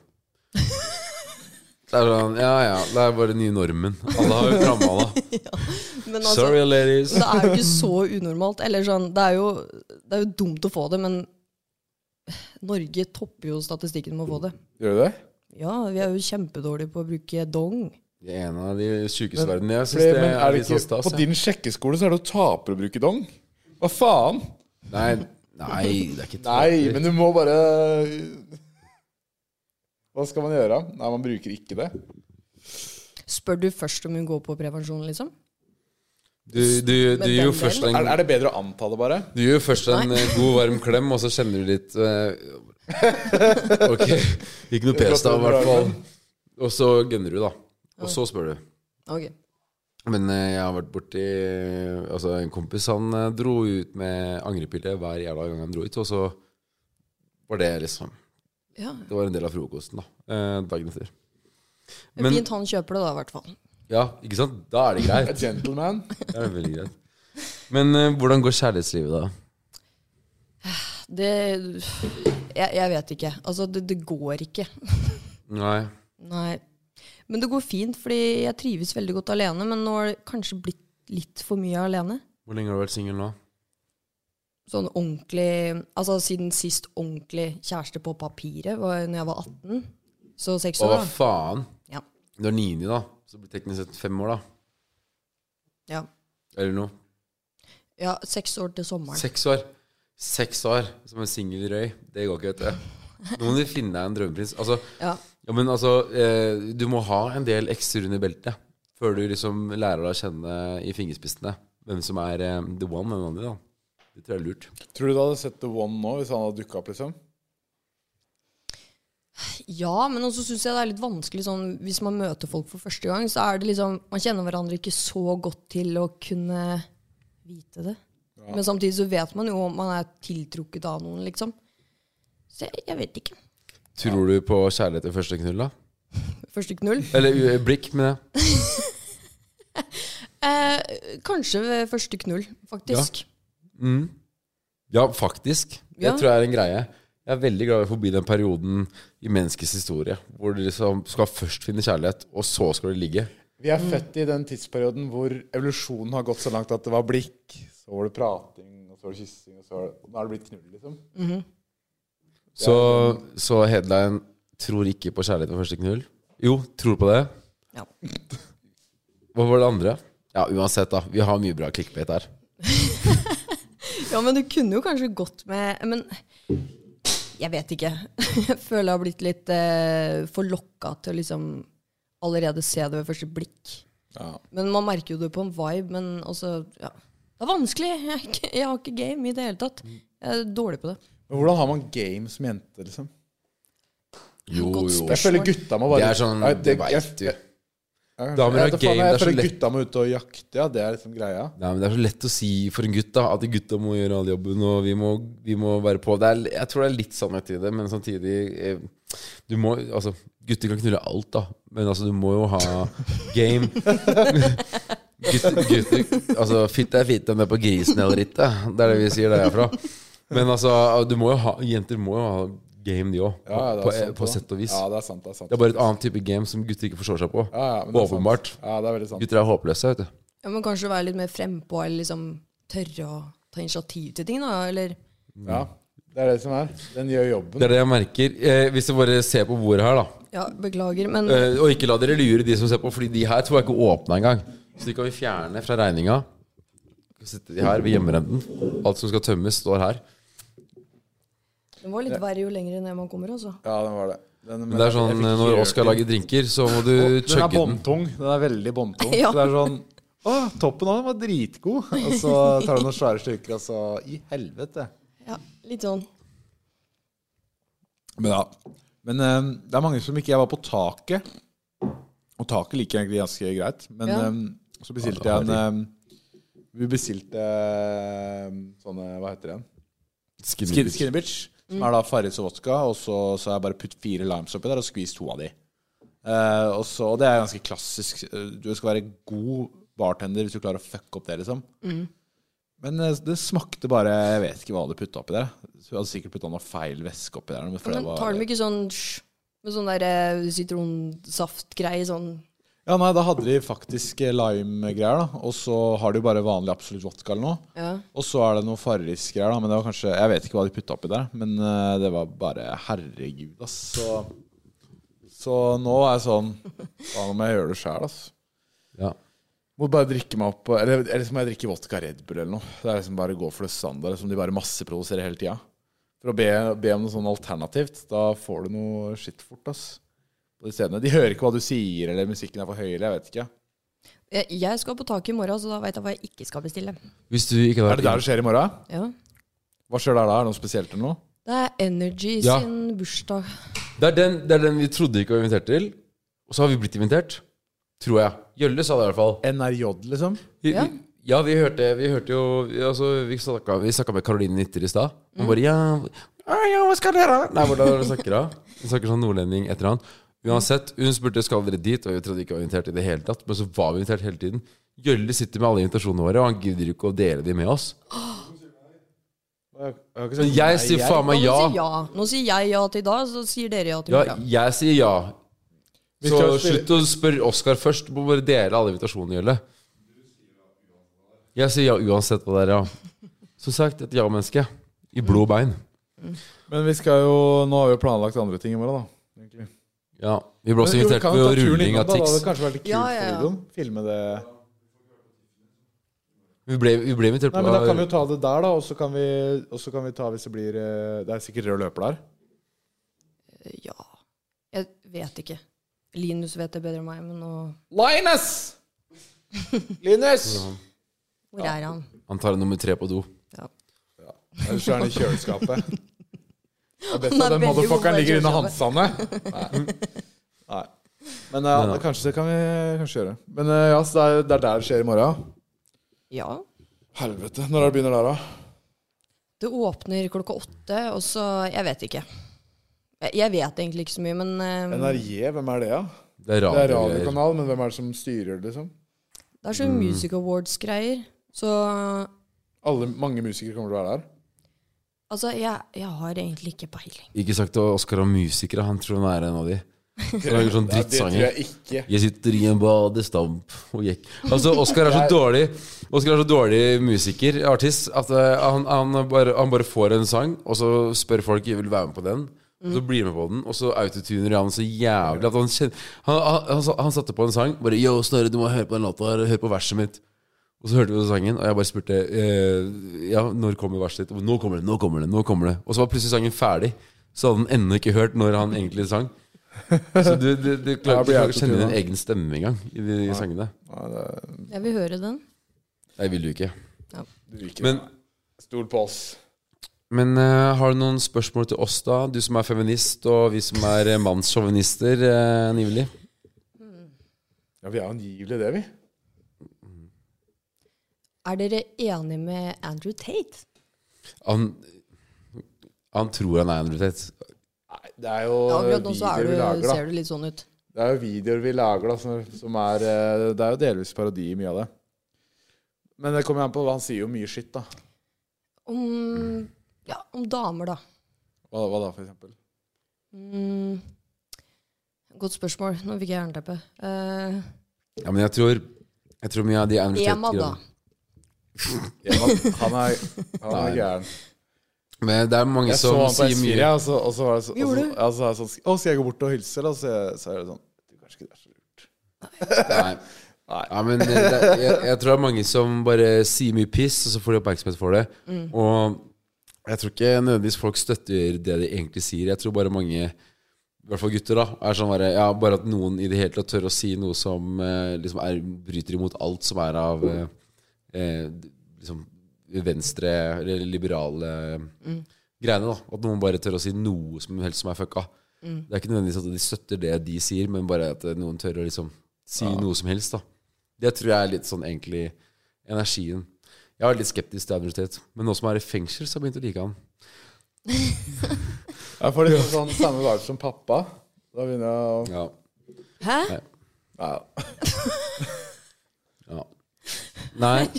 Det er sånn, ja ja, det er bare den nye normen. Alle har jo framhalla.
Men altså,
Sorry, ladies.
det er jo ikke så unormalt. Eller sånn, det er jo, det er jo dumt å få det, men Norge topper jo statistikken med å få det.
Gjør du det?
Ja, vi er jo kjempedårlige på å bruke dong.
Det er en av de sjukeste verdenene. Jeg syns
Fordi,
det
men
er
er det
litt sånn
ikke,
stas.
på
ja.
din sjekkeskole så er det jo taper å bruke dong. Hva faen?
Nei, nei, det er ikke
Nei,
taper.
men du må bare Hva skal man gjøre? Nei, man bruker ikke det.
Spør du først om hun går på prevensjon, liksom?
Du, du, du gir jo først en,
Er, er det bedre å anta det, bare?
du gir jo først en eh, god, varm klem, og så kjenner du litt eh, Ok, ikke noe pes da, i hvert fall. Og så gunner du, da. Og så spør du.
Ok.
Men eh, jeg har vært borti Altså, en kompis han eh, dro ut med angrepille hver jævla gang han dro ut, og så var det liksom
Ja.
Det var en del av frokosten, da. Eh, dagen etter.
Men,
Men-
Fint han kjøper det, da, i hvert fall.
Ja, ikke sant? Da er det greit.
A gentleman?
Det er veldig greit. Men eh, hvordan går kjærlighetslivet, da?
Det Jeg, jeg vet ikke. Altså, det, det går ikke.
Nei.
Nei. Men det går fint, fordi jeg trives veldig godt alene, men nå har det kanskje blitt litt for mye alene.
Hvor lenge har du vært singel nå?
sånn ordentlig Altså siden sist ordentlig kjæreste på papiret var når jeg var 18. Så seks
Å,
år,
hva
da.
faen?
Ja.
Du er 9, da. Så det blir teknisk sett fem år, da.
Ja.
Eller noe.
ja, seks år til sommeren.
Seks år. Seks år som en singel røy. Det går ikke, vet du. Nå må du finne deg en drømmeprins. Altså,
Ja.
ja, men altså eh, Du må ha en del ekser under beltet før du liksom lærer deg å kjenne i fingerspissene hvem som er eh, the one og den andre, da. Det tror jeg er lurt.
Tror du du hadde sett The One nå hvis han hadde dukka opp, liksom?
ja, men også syns jeg det er litt vanskelig sånn hvis man møter folk for første gang, så er det liksom Man kjenner hverandre ikke så godt til å kunne vite det. Men samtidig så vet man jo om man er tiltrukket av noen, liksom. Så jeg, jeg vet ikke.
Tror du på kjærlighet ved første knull, da?
Første knull.
Eller u- blikk, mener jeg.
Eh, kanskje ved første knull, faktisk.
Mm. Ja, faktisk. Det
Ja.
tror jeg er en greie. Jeg er veldig glad i å forbi den perioden i menneskets historie hvor du liksom skal først finne kjærlighet, og så skal du ligge.
Vi er født i den tidsperioden hvor evolusjonen har gått så langt at det var blikk, så var det prating, og så var det kyssing, og så var det og Nå er det blitt knull, liksom.
Så, så headline 'Tror ikke på kjærlighet ved første knull'. Jo, tror på det.
Ja.
Hva var det andre? Ja, uansett, da. Vi har mye bra clickbait her.
Ja, men du kunne jo kanskje gått med Men jeg vet ikke. Jeg føler jeg har blitt litt eh, for lokka til å liksom allerede se det ved første blikk.
Ja.
Men man merker jo det på en vibe, men også ja. Det er vanskelig. Jeg, er ikke- jeg har ikke game i det hele tatt. Jeg er dårlig på det.
Men hvordan har man game som jente, liksom?
Jo,
Godt
jo.
spørsmål.
Jeg føler gutta må
Det
bare
er sånn
Nei,
Det
jeg-
veit du.
jeg- jeg-
Damer har
jeg-
game,
faen,
det er
Jeg
så
føler
lett.
gutta må ut og jakte, ja. Det er liksom greia.
Nei, men Det er så lett å si for en gutt da at gutta må gjøre all jobben, og vi må, vi må være på. Det er, jeg tror det er litt sannhet i det, men samtidig eh, du må, altså, Gutter kan knulle alt, da, men altså, du må jo ha game. gutter, gutter altså, Fitte er fitte, om det er på grisen eller ikke. Det er det vi sier der herfra. Men altså, du må jo ha, jenter må jo ha game, de òg.
Ja, ja, det er
på,
sant,
på
da.
sett og vis.
Ja, det er sant. Det er sant.
Det er bare et annet type game som gutter ikke forstår seg på.
Ja, ja, men det er sant.
Åpenbart.
Ja, det er veldig sant.
Gutter er håpløse, vet du.
Jeg må kanskje være litt mer frempå eller liksom tørre å ta initiativ til ting, da. Eller
Ja, det er det som er. Den gjør jobben.
Det er det jeg merker. Eh, hvis du bare ser på bordet her, da.
ja, beklager, men
Eh, og ikke la dere lure de som ser på, Fordi de her tror jeg ikke åpna engang. Så de kan vi fjerne fra regninga. Vi setter de her ved hjemmerenten. Alt som skal tømmes, står her.
det var litt verre jo lenger ned man kommer, altså.
Ja, den var det. Den,
Men det er sånn eh, når Oskar lager drinker, så må du
Den er
chugge den.
båndtung. Den er veldig båndtung.
Ja.
Så det er sånn Å, toppen av den var dritgod! Og så tar du noen svære styrker, og så I helvete.
Ja, litt sånn.
Men ja. Men eh, det er mange som ikke Jeg var på taket. Og taket liker jeg egentlig ganske greit. Men
Ja.
eh, så bestilte jeg en eh, Vi bestilte eh, sånne Hva heter det igjen?
Skinny
Skin,
bitch.
Skinny Bitch. Som er da Farris og vodka. Og så, så har jeg bare putt fire limes oppi der og skvist to av de. Eh, og så, og det er ganske klassisk. eh, Du skal være god bartender hvis du klarer å fucke opp det, liksom.
Mm.
Men eh, det smakte bare Jeg vet ikke hva du putta oppi der. Så jeg hadde sikkert putta noe feil væske oppi der. Men for det
Men
var-
tar de ikke sånn sj, med sånn der eh, sitronsaftgreie sånn
Ja, nei, da hadde de faktisk eh, lime-greier, da. Og så har de jo bare vanlig absolutt vodka eller noe.
Ja.
Og så er det noe Farris-greier, da. Men det var kanskje Jeg vet ikke hva de putta oppi der, men eh, det var bare Herregud, ass. Så, så nå er jeg sånn Faen, nå må jeg gjøre det sjæl, ass.
Ja.
Må bare drikke meg opp Eller, eller så må jeg drikke vodka Red Bull eller noe. Det er liksom bare å gå for det standard som de bare masseproduserer hele tida. For å be, be om noe sånn alternativt, da får du noe skitt fort, ass. På de stedene. De hører ikke hva du sier, eller musikken er for høy, eller jeg vet ikke.
Jeg- Jeg skal på taket i morgen, så da veit jeg hva jeg ikke skal bestille.
Hvis du ikke
Er
hadde
det der
vært
det skjer i morgen?
Ja.
Hva skjer der da? Er det noe spesielt eller noe?
Det er Energy
Ja.
sin bursdag.
det er, den, det er den vi trodde ikke var invitert til, og så har vi blitt invitert. Tror jeg. Gjølle sa det i hvert fall.
NRJ, liksom?
Vi,
Ja.
ja. ja, vi hørte, vi hørte jo vi- altså, Vi snakka, vi snakka med Karoline Nitter i stad. Hun bare ja, «Ja, ja, hva skal dere? Nei, hvordan snakker hun? Hun snakker sånn nordlending et eller annet. Uansett, hun spurte skal dere dit, og vi trodde ikke vi var invitert i det hele tatt. Men så var vi invitert hele tiden. Gjølle sitter med alle invitasjonene våre, og han gidder ikke å dele de med oss. Men
sånn-
jeg sier faen
Nå
meg ja.
sier ja. Nå sier jeg ja til i dag, så sier dere ja til i
Ja,
morgen.
jeg sier ja.
Vi
Så
skal spille-
slutt å spørre Oskar først. Må bare dele alle invitasjonene, Gjølle. Jeg sier ja uansett hva det er, ja. Som sagt, et ja-menneske. I blod og bein.
Men vi skal jo Nå har vi jo planlagt andre ting i morgen, da. egentlig.
Ja. Vi ble også
Men jo, vi
invitert
kan
på
ta turen
rulling
innom,
av
da. Det hadde
Tix.
kanskje vært litt kult
Ja, ja, ja.
for videoen. Filme det
Vi ble, vi ble invitert
Nei,
på
men Da kan vi jo ta det der, da. Og så kan, vi- og så kan vi ta hvis det blir eh, Det er sikkert rød løper der.
Ja. Jeg vet ikke. Linus vet det bedre enn meg, men nå
Linus! Linus!
Hvor er han?
Han tar en nummer tre på do.
Ja.
Ellers er han i kjøleskapet. Det er best
Han er
at den
veldig god
motherfuckeren
på
ligger inne i
kjøleskapet.
hansene. Nei. Nei. Men ja,
Men ja.
kanskje det kan vi kanskje gjøre. Men eh, ja, så det er, det er der det skjer i morgen.
ja.
Helvete. Når er det begynner der, da?
Det åpner klokka åtte, og så Jeg vet ikke. Jeg- Jeg vet egentlig ikke så mye, men eh,
NRJ, hvem er det, da?
Det er
Det er
radiogreier.
radiokanal, men hvem er det som styrer det, liksom?
det er sånn Music Awards-greier. Så
Alle, mange musikere kommer til å være der.
altså, jeg, jeg har egentlig ikke peiling.
Ikke sagt til Oskar om musikere. Han tror han er en av de. Han lager sånn
Nei, det tror
drittsanger.
jeg ikke.
Jeg sitter i en badestamp og gikk Altså, Oskar er så dårlig Oscar er så dårlig musiker, artist, at eh, han, han, bare, han bare får en sang, og så spør folk om de vil være med på den. Og så blir de med på den, og så autotuner han så jævlig at han kjenner Han, han, han, sa- han satte på en sang, bare Yo, Snorre, du må høre på den låta her, hør på verset mitt. Og så hørte vi sangen, og jeg bare spurte eh, Ja, når kommer verset ditt? Nå kommer det, nå kommer det, nå kommer det. Og så var plutselig sangen ferdig. Så hadde han ennå ikke hørt når han egentlig sang. Så du, du, du
Ja,
klarer
det blir
ikke å kjenne
autotune,
din
da.
egen stemme engang i de sangene.
Nei, det er-
Jeg vil høre den.
Nei, vil du ikke.
du vil ikke.
Men,
Stol på oss.
men eh, har du noen spørsmål til oss, da? Du som er feminist, og vi som er eh, mannssjåvinister, eh, angivelig.
Ja, vi er angivelig det, vi.
Er dere enig med Andrew Tate?
Han, han tror han er Andrew Tate.
Nei, det er jo
Ja, akkurat nå så er
videoer vi
du,
lager, da.
ser du litt sånn ut.
Det er jo videoer vi lager, da, som, som er eh, Det er jo delvis parodi i mye av det. Men det kommer jo an på hva han sier jo mye skitt, da.
Om, ja, om damer, da.
Hva, hva da, for eksempel?
Mm. Godt spørsmål. Nå fikk jeg jernteppe. Eh,
Ja, men jeg tror, jeg tror mye av de Andrew
Emma, da.
Tate-greiene
Ja, han, han er, han er
Nei.
gæren.
Men det er mange
Jeg så
som
han på
sier mye.
S4, og så, og så var det så, og
Gjorde
så,
du?
ja, så er det sånn Å, skal jeg gå bort og hilse, eller? Og Så, så er det sånn Du kanskje ikke det er så lurt.
Nei. Ja, men det, det, jeg, jeg tror det er mange som bare sier mye piss, og så får de oppmerksomhet for det. Og jeg tror ikke nødvendigvis folk støtter det de egentlig sier. Jeg tror bare mange i hvert fall gutter, da, er sånn bare Ja, bare at noen i det hele tatt tør å si noe som eh, liksom er, bryter imot alt som er av eh, eh, liksom venstre eller liberale greiene, da. At noen bare tør å si noe som helst som er fucka. Det er ikke nødvendigvis at de støtter det de sier, men bare at eh, noen tør å liksom si noe som helst, da. Det tror jeg er litt sånn egentlig energien. Jeg var litt skeptisk til Andrew men nå som han er i fengsel, så har jeg begynt å like han.
Jeg får litt sånn samme valg som pappa. Da begynner jeg å
Ja,
Hæ?
ja.
ja. Nei,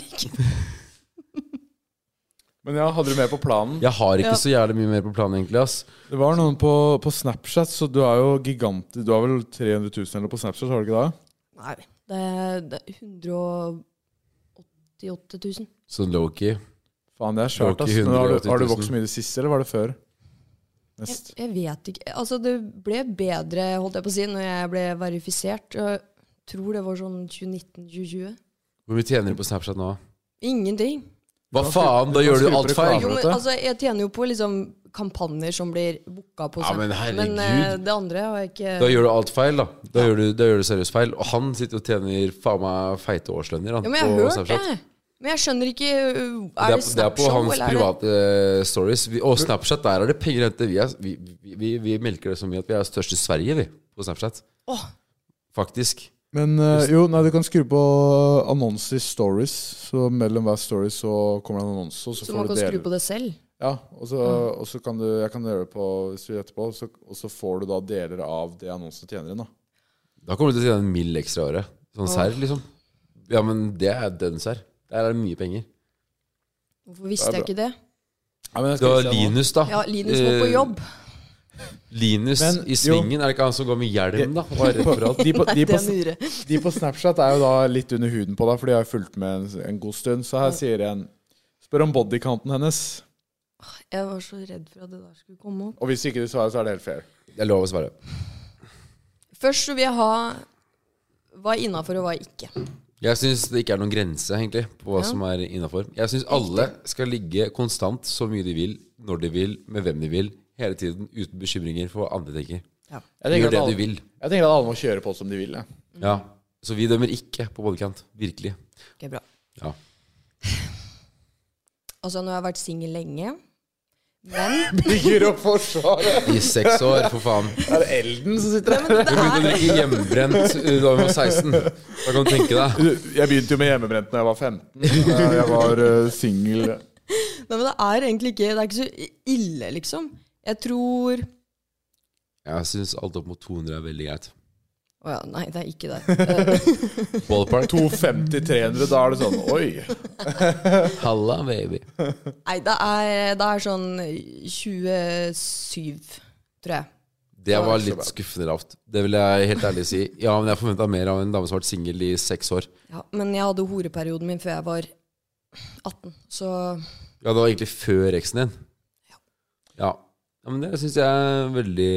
Men ja, hadde du med på planen?
jeg har
Ja.
ikke så jævlig mye mer på planen, egentlig. ass
Det var noen på, på Snapchat, så du er jo gigant Du har vel 300 000 eller på Snapchat, har du ikke det?
Nei. Det er, det er 188 000.
Så Loki
Faen, det er svært,
Det var
ass.
ikke
Men har, du,
180 000.
har du vokst så mye i det siste, eller var det før?
Jeg,
Nest.
jeg vet ikke. Altså, det ble bedre, holdt jeg på å si, når jeg ble verifisert. Jeg tror det var sånn 2019-2020.
Hvor mye tjener du på Snapchat nå?
Ingenting.
Hva
Du kan
faen,
skru-
da
du kan
gjør du
skru
alt
på
feil!
Jo, men
vet du.
altså, jeg tjener jo på liksom kampanjer som blir booka på
Ja, men
Snap.
herregud.
eh, det andre har jeg
Da
ikke
gjør du alt feil, da. Da gjør du, da gjør du seriøst feil. Og han sitter og tjener faen meg feite årslønner, han.
Ja, men jeg
på
har hørt
Snapchat.
det. Men jeg skjønner ikke uh, Er
Det er,
det
det er på
Snapshow,
hans
eller er det
private eh, stories. Vi, og Snapchat, der er det penger å hente. Vi, er, vi, vi, vi, vi melker det så mye at vi er størst i Sverige, vi, på Snapchat.
Åh.
Faktisk.
Men eh, jo, nei, du kan skru på annonser i stories. Så mellom hver story så kommer det en annonse, og så,
Så
får du
man kan skru på
dele.
det selv?
Ja, og så, og så kan du Jeg kan gjøre det på hvis du vil etterpå, så, og så får du da deler av det annonsen tjener inn, da.
Da kommer du til å tjene en mill ekstra i året. Sånn serr, liksom. Ja, men det er dønn serr. Der er det mye penger.
Hvorfor visste
Det er
jeg ikke det?
Nei, men jeg
Du
skal
har
ikke si noe.
Linus, da.
Ja, Linus må på
Eh,
jobb.
Linus
Men,
i svingen. Er det ikke han som går med hjelm, da? Og er redd for alt?
De på,
Nei,
de
det
på,
er Myhre.
De på Snapchat er jo da litt under huden på deg, for de har jo fulgt med en, en god stund. Så her sier en Spør om bodycounten hennes.
Jeg var så redd for at det der skulle komme opp.
Og hvis ikke du svarer, så er det helt fair.
Det er lov å svare.
Først så vil jeg ha hva er innafor og hva er ikke.
Jeg syns det ikke er noen grense egentlig på hva
Ja.
som er innafor. Jeg syns alle skal ligge konstant så mye de vil, når de vil, med hvem de vil, hele tiden uten bekymringer for hva andre tenker.
Jeg tenker
Gjør
at
det
alle-
du vil.
Jeg tenker at alle må kjøre på som de vil. jeg.
Ja. Så vi dømmer ikke på bodycount. Virkelig.
Ok, bra.
Ja.
Altså, nå har jeg vært singel lenge, men
Bygger opp forsvaret!
I seks år, for faen.
Er det Elden som sitter her?
Du begynte å drikke hjemmebrent uh, da du var 16. Da kan du tenke deg.
Jeg begynte jo med hjemmebrent da jeg var 15. Eh, Jeg var eh, singel.
Nei, men det er egentlig ikke Det er ikke så ille, liksom. Jeg tror Å
Jeg syns alt opp mot 200 er veldig greit.
ja, nei, det er ikke det. Eh,
Ballpark.
250-300, da er det sånn Oi!
Halla, baby.
Nei, det er, det er sånn 27, tror jeg.
Det var litt skuffende lavt. Det vil jeg helt ærlig si. Ja, men jeg forventa mer av en dame som har vært singel i seks år.
Ja, men jeg hadde horeperioden min før jeg var 18, så
Ja, det var egentlig før eksen din. Ja. ja men det syns jeg er veldig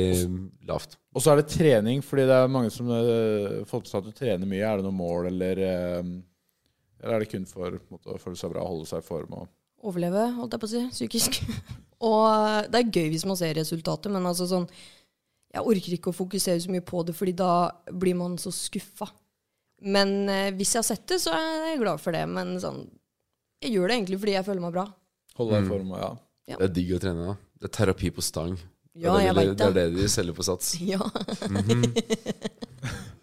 lavt.
Og så er det trening, fordi det er mange som eh, får på seg at du trener mye. Er det noe mål, eller eh, Eller er det kun for på en måte, å føle seg bra, holde seg i form og
overleve, holdt jeg på å si, psykisk. Og eh, det er gøy hvis man ser resultatet, men altså sånn Jeg orker ikke å fokusere så mye på det, fordi da blir man så skuffa. Men eh, hvis jeg har sett det, så er jeg glad for det. Men sånn Jeg gjør det egentlig fordi jeg føler meg bra.
Holde deg i form, ja.
Det er digg å trene, da. Det er terapi på stang. Det er
Ja,
det
jeg
de-
veit
Det er
det.
det de selger på Sats.
Ja.
Mhm.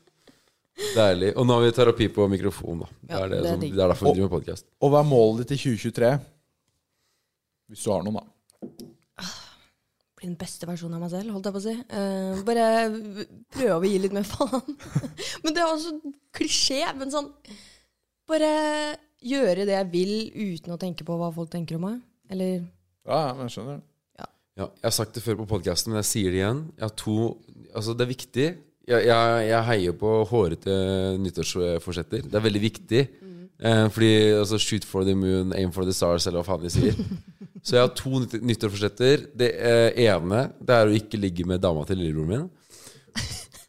Deilig. Og nå har vi terapi på mikrofon, da. Det
Ja,
er, det
det er
som,
digg.
det er derfor vi driver med podkast.
Og hva er målet ditt i 2023? Hvis du har noen, da.
Bli den beste versjonen av meg selv, holdt jeg på å si. Eh, bare prøve å gi litt mer faen. men det er også klisjé, men sånn Bare gjøre det jeg vil uten å tenke på hva folk tenker om meg. Eller
Ja, ja, men jeg skjønner.
Ja, jeg har sagt det før på podkasten, men jeg sier det igjen. Jeg har to Altså, det er viktig. Jeg, jeg, jeg heier på hårete nyttårsforsetter. Det er veldig viktig.
Mm.
Eh, fordi altså, shoot for the moon, aim for the stars, eller hva faen de sier. Så jeg har to nytt- nyttårsforsetter. Det eh, ene det er å ikke ligge med dama til lillebroren min.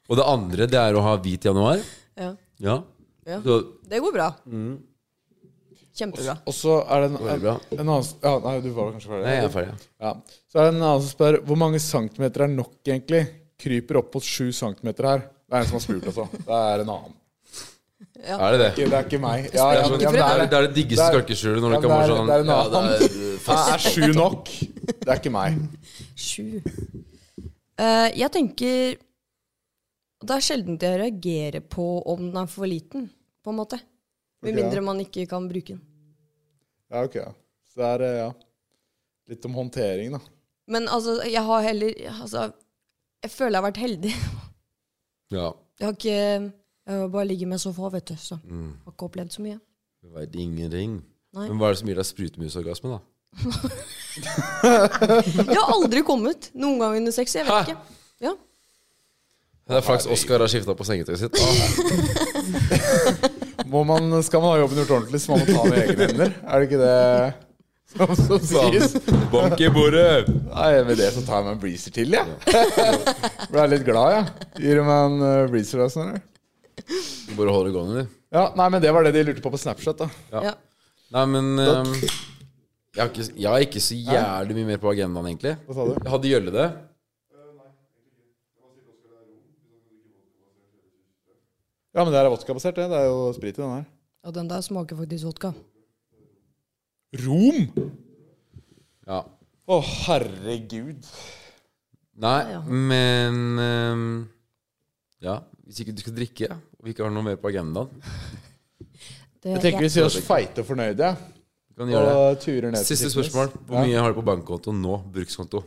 Og det andre det er å ha hvit januar.
Ja.
Ja.
Ja.
Så,
Det går bra. Kjempebra.
Og så er det en,
Veldig bra.
en annen s- ja, Nei, du var kanskje ferdig?
nei, jeg er ferdig.
Ja. Så er det en annen som spør hvor mange centimeter er nok, egentlig? kryper opp mot sju centimeter her. Det er en som har spurt, altså. Det er en annen.
Er det det?
Ikke- Det er ikke meg. Ja,
Det
ja,
er,
men-
sånn,
ja,
det, er,
men
det er det diggeste
det er-
skalkeskjulet når
ja,
du kan være
det er-
sånn
det er en
ja,
annen.
det er
Det er sju nok. Det er ikke meg.
Sju. Eh, jeg tenker Det er sjelden jeg reagerer på om den er for liten, på en måte. Med
Ok.
mindre man ikke kan bruke den.
Ja, ok. ja. Så det er eh, ja. litt om håndtering, da.
Men altså, jeg har heller altså, Jeg føler jeg har vært heldig.
Ja.
Jeg har ikke jeg har bare ligget med så få, vet du. Så jeg
Mm.
har ikke opplevd så mye.
Du vet ingenting.
Nei.
Men hva er det som gir deg sprutemusorgasme, da?
Jeg har aldri kommet noen gang under sex. Jeg vet
Hæ?
ikke. Ja.
Det er flaks Oskar har skifta på sengetøyet sitt. Ah, Å,
Må man, skal man ha jobben gjort ordentlig, så må man ta den i egne hender. Er det ikke det som, som sies?
Bank i bordet!
Nei, Med det så tar jeg meg en breezer til, jeg. Ja. Ble litt glad, jeg. Gir du meg en eh, breezer da, Snorre?
Du Bare holder det gående, du.
Ja, nei, men det var det de lurte på på Snapchat, da.
Ja.
Ja.
Nei, men ehm, jeg, har ikke, jeg har ikke så jævlig mye mer på agendaen, egentlig.
Hva sa du?
Jeg hadde gjølle det.
Ja, men det er vodkabasert, det. Det er jo sprit i den her.
Og den der smaker faktisk vodka.
Rom?
Ja.
Å, herregud.
Nei,
Ja, ja.
men ehm, Ja, hvis ikke du skal drikke, og vi ikke har noe mer på agendaen,
Det,
Jeg tenker vi sier oss feite og fornøyde. jeg.
du kan gjøre
Og turer ned
det.
til
Siste
fitness.
spørsmål. Hvor mye har du på bankkonto nå? Brukskonto.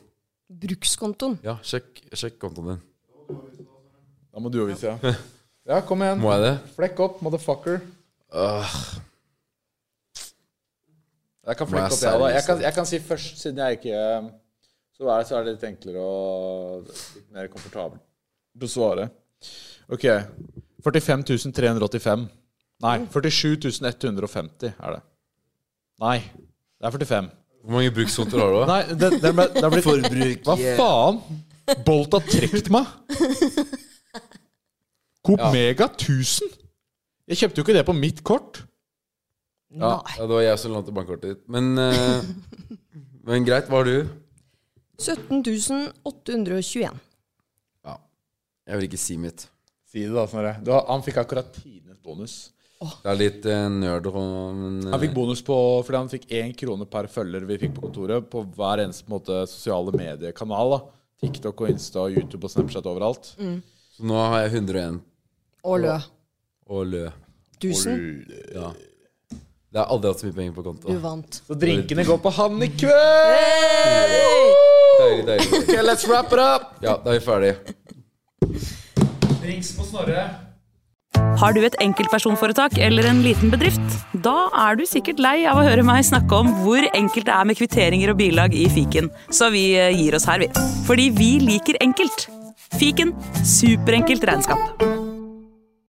Brukskontoen.
Ja, sjekk, sjekk kontoen din.
Ja. Da må du jo vise, ja. Ja, kom igjen.
Må jeg det?
Flekk opp, motherfucker.
Øh,
Jeg kan
Må
flekke
jeg
opp, jeg, da. Jeg
seriøst?
kan, jeg kan si først, siden jeg ikke ehm, Så er det, så er det litt enklere og litt mer komfortabelt å svare. OK. 45 385. Nei,
Mm.
47 150 er det. Nei, det er 45.
hvor mange brukskontoer har du? da?
Nei, det, det, ble, det er blitt
Forbruk,
Hva
yeah.
faen? Bolt har trukket meg. Coop
Ja.
Mega 1000. Jeg kjøpte jo ikke det på mitt kort.
Ja,
Nei.
ja, det var jeg som lånte bankkortet ditt. Men, eh, men greit, hva har du?
17 821.
Ja. Jeg vil ikke si mitt.
Si det, da, Snorre. Du har- Han fikk akkurat tidenes bonus.
Det er litt eh, nerd og men, eh,
Han fikk bonus på fordi han fikk én krone per følger vi fikk på kontoret, på hver eneste på en måte, sosiale mediekanal. da TikTok og Insta og YouTube og Snapchat overalt.
Så nå har jeg 101
Og lø.
og lø.
1000.
Ja. Det er aldri hatt så mye penger på konto.
Du vant.
Så drinkene går på han i kveld!
Deilig, deilig. deilig.
Okay, let's wrap it up!
Ja, da er vi ferdige.
Drinks på Snorre.
Har du et enkeltpersonforetak eller en liten bedrift? Da er du sikkert lei av å høre meg snakke om hvor enkelt det er med kvitteringer og bilag i fiken, så vi eh, gir oss her, vi. Fordi vi liker enkelt. Fiken superenkelt regnskap.